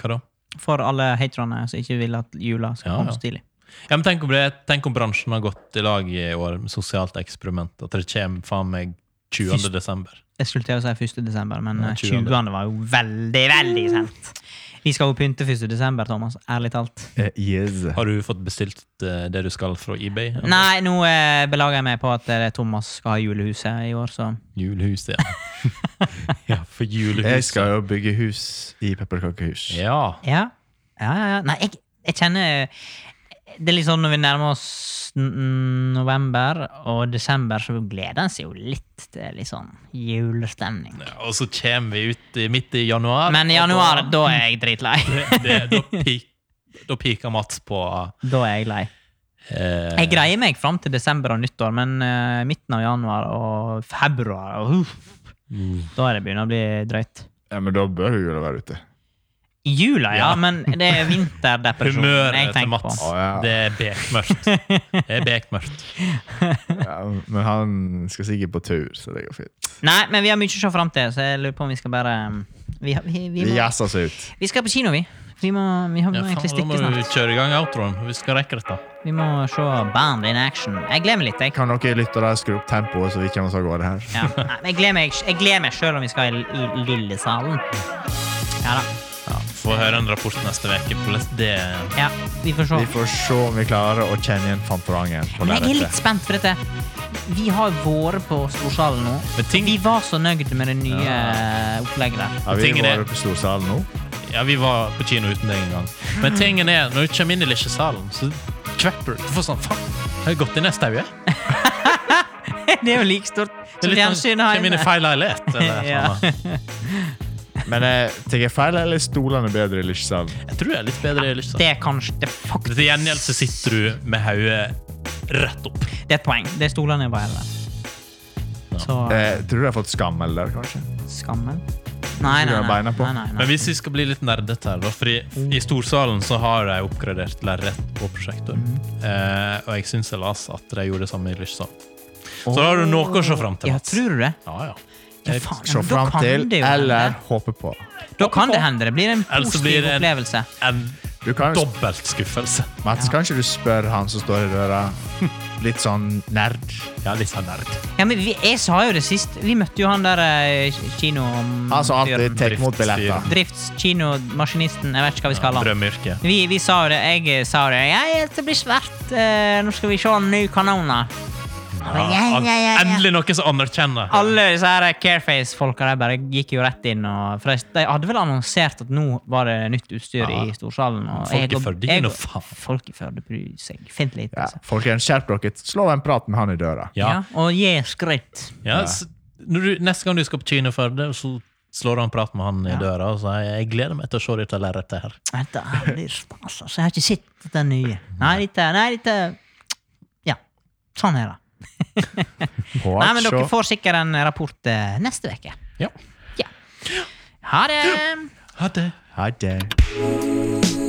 S3: Hva da?
S2: For alle haterne som ikke vil at jula skal
S3: Ja,
S2: komme
S3: ja.
S2: så tidlig.
S3: Ja, men tenk, om det, tenk om bransjen har gått i lag i år med sosialt eksperiment. At det kommer faen meg 20.
S2: Fyrst-
S3: desember.
S2: Jeg skulle til å si 1. desember, men
S3: Nei,
S2: eh,
S3: 20.
S2: 20. var jo veldig,
S3: Mm.
S2: veldig sent. Vi skal jo pynte 1. desember, Thomas. Ærlig talt.
S3: Eh,
S1: yes.
S3: Har du fått bestilt eh, det du skal fra eBay? Eller?
S2: Nei, nå eh, belager jeg meg på at eh, Thomas skal ha julehuset i år, så
S3: Julehuset, ja. ja, for julehuset.
S1: Jeg skal jo bygge hus i pepperkakehus.
S3: Ja.
S2: Ja. ja, ja, ja. Nei, jeg, jeg kjenner Det er litt sånn når vi nærmer oss n- november og desember, så gleder en seg jo litt til litt sånn julestemning.
S3: Og så kommer vi ut i, midt i januar.
S2: Men i januar, da er jeg dritlei.
S3: det, det, da, pik, da piker Mats på
S2: Da er jeg lei.
S3: eh,
S2: Jeg greier meg fram til desember og nyttår, men eh, midten av januar og februar og, uff,
S3: Mm.
S2: Da er det begynner å bli drøyt.
S1: Ja, men da bør jo jula være ute.
S2: I Jula, ja,
S3: Ja.
S2: men det er vinterdepresjonen jeg
S3: Humøret til
S2: tenker
S3: Mats.
S2: på.
S1: Å, ja.
S3: Det er bekmørkt. Det er bekmørkt.
S1: Ja, men han skal sikkert på tur, så det går fint.
S2: Nei, men vi har mye å se fram til, så jeg lurer på om vi skal bare mm, Vi, vi, vi,
S1: Vi
S2: må,
S1: jazzer oss ut.
S2: Vi skal på kino, vi. Vi må, vi må
S3: Ja,
S2: egentlig
S3: faen, da
S2: stikke
S3: må vi
S2: snart.
S3: kjøre i gang outroen. Vi skal rekke dette.
S2: Vi må se Band in action. Jeg gleder meg litt. Jeg,
S1: Kan dere lytte der skru opp tempoet, så vi kommer oss av gårde her?
S2: ja. Nei, men jeg gleder meg, jeg gleder meg sjøl om vi skal i, i Lillesalen. Ja da.
S3: Ja, Få høre en rapport neste uke. Hvordan det
S2: Ja, vi får se.
S1: Vi får se om vi klarer å kjenne igjen Fantorangen. på
S2: Men jeg er litt
S1: lerretet.
S2: spent, for dette Vi har vært på Storsalen nå.
S3: Men ting-
S2: Vi var så nøyd med det nye eh, opplegget der.
S1: Har vi
S3: Tingen er-
S1: vært på Storsalen nå?
S3: Ja, vi var på kino uten deg en gang. Men tingen er, når du kommer inn i Lisjesalen, så kvepper du. Du får sånn Faen, har jeg gått inn i stauet?
S2: Det er jo like stort som
S3: Det er litt sånn,
S2: fjernsynet
S3: Kom inn i
S2: hjemme.
S3: feil leilighet. eller
S2: Ja.
S3: sånn.
S1: Men eh, tar jeg feil, eller er stolene bedre i Lisjesalen?
S3: Jeg tror det er litt bedre i Lisjesalen.
S2: Det er kanskje det er faktisk
S3: Til gjengjeld så sitter du med hodet rett opp.
S2: Det er et poeng. Det er stolene jeg bare heller. Så
S1: Eh, tror du de har fått skammel der, kanskje?
S2: skammen Nei, nei,
S1: Du har
S2: nei.
S1: beina på.
S2: nei, nei,
S3: Men
S2: nei.
S3: hvis vi skal bli litt nerdete her, da, fordi i storsalen så har de oppgradert lerret på prosjektor.
S2: Mhm.
S3: Eh, og jeg syns jeg las at de gjorde det samme i Lyssand. Så da har du noe å se fram til.
S2: Ja,
S3: Mats.
S2: tror du det?
S3: Ja, ja.
S2: Ja, faen,
S1: Se
S2: men da
S1: fram
S2: kan
S1: til,
S2: det jo
S1: eller
S2: hende.
S1: håpe på.
S2: Da kan det hende. Det blir en
S3: Ellers så
S2: positiv
S3: blir det en-
S2: opplevelse.
S3: En
S1: Du kan, jo-
S3: dobbelt skuffelse.
S1: Mats, kan ikke du spørre han som står i døra? Litt sånn nerd.
S3: Ja, litt sånn nerd.
S2: Ja, men vi, jeg sa jo det sist. Vi møtte jo han der eh, kino...
S1: Han som alltid tar imot billetter.
S2: Driftskinomaskinisten. Jeg vet ikke hva vi skal kalle han.
S3: Drømmeyrke.
S2: Vi, vi sa jo det. Jeg eh, sa det. Jeg, det blir svært. eh, nå skal vi se en ny kanon. da.
S3: Ja,
S2: Ja, ja, ja, ja.
S3: Endelig noen som anerkjenner.
S2: Alle disse her Careface-folka de bare gikk jo rett inn. Og, for de, de hadde vel annonsert at nå var det nytt utstyr
S3: Ja.
S2: i storsalen. Og
S3: Folk i
S2: jeg og-
S3: Førde gir
S2: jeg
S3: noe
S2: og-
S3: faen.
S2: Folk i Førde bryr seg fint lite.
S1: Ja,
S2: Altså.
S1: folkens, skjerp dere. Slå en prat med han i døra.
S2: Ja.
S3: Ja.
S2: og gi skritt.
S3: Ja, s- når du, neste gang du skal på kino for det, så slår du en prat med han i
S2: Ja.
S3: døra og sier jeg gleder meg til å se dette lerretet her.
S2: Dette er det er stas, altså. Jeg har ikke sett den nye. Nei, dette Nei, dette Ja. Sånn er det.
S1: På
S2: Nei, men
S1: at
S2: dere
S1: se-
S2: får sikkert en rapport eh, neste uke.
S3: Ja.
S2: Ja. Ha det!
S3: Ha det.
S1: Ha det.
S4: Thank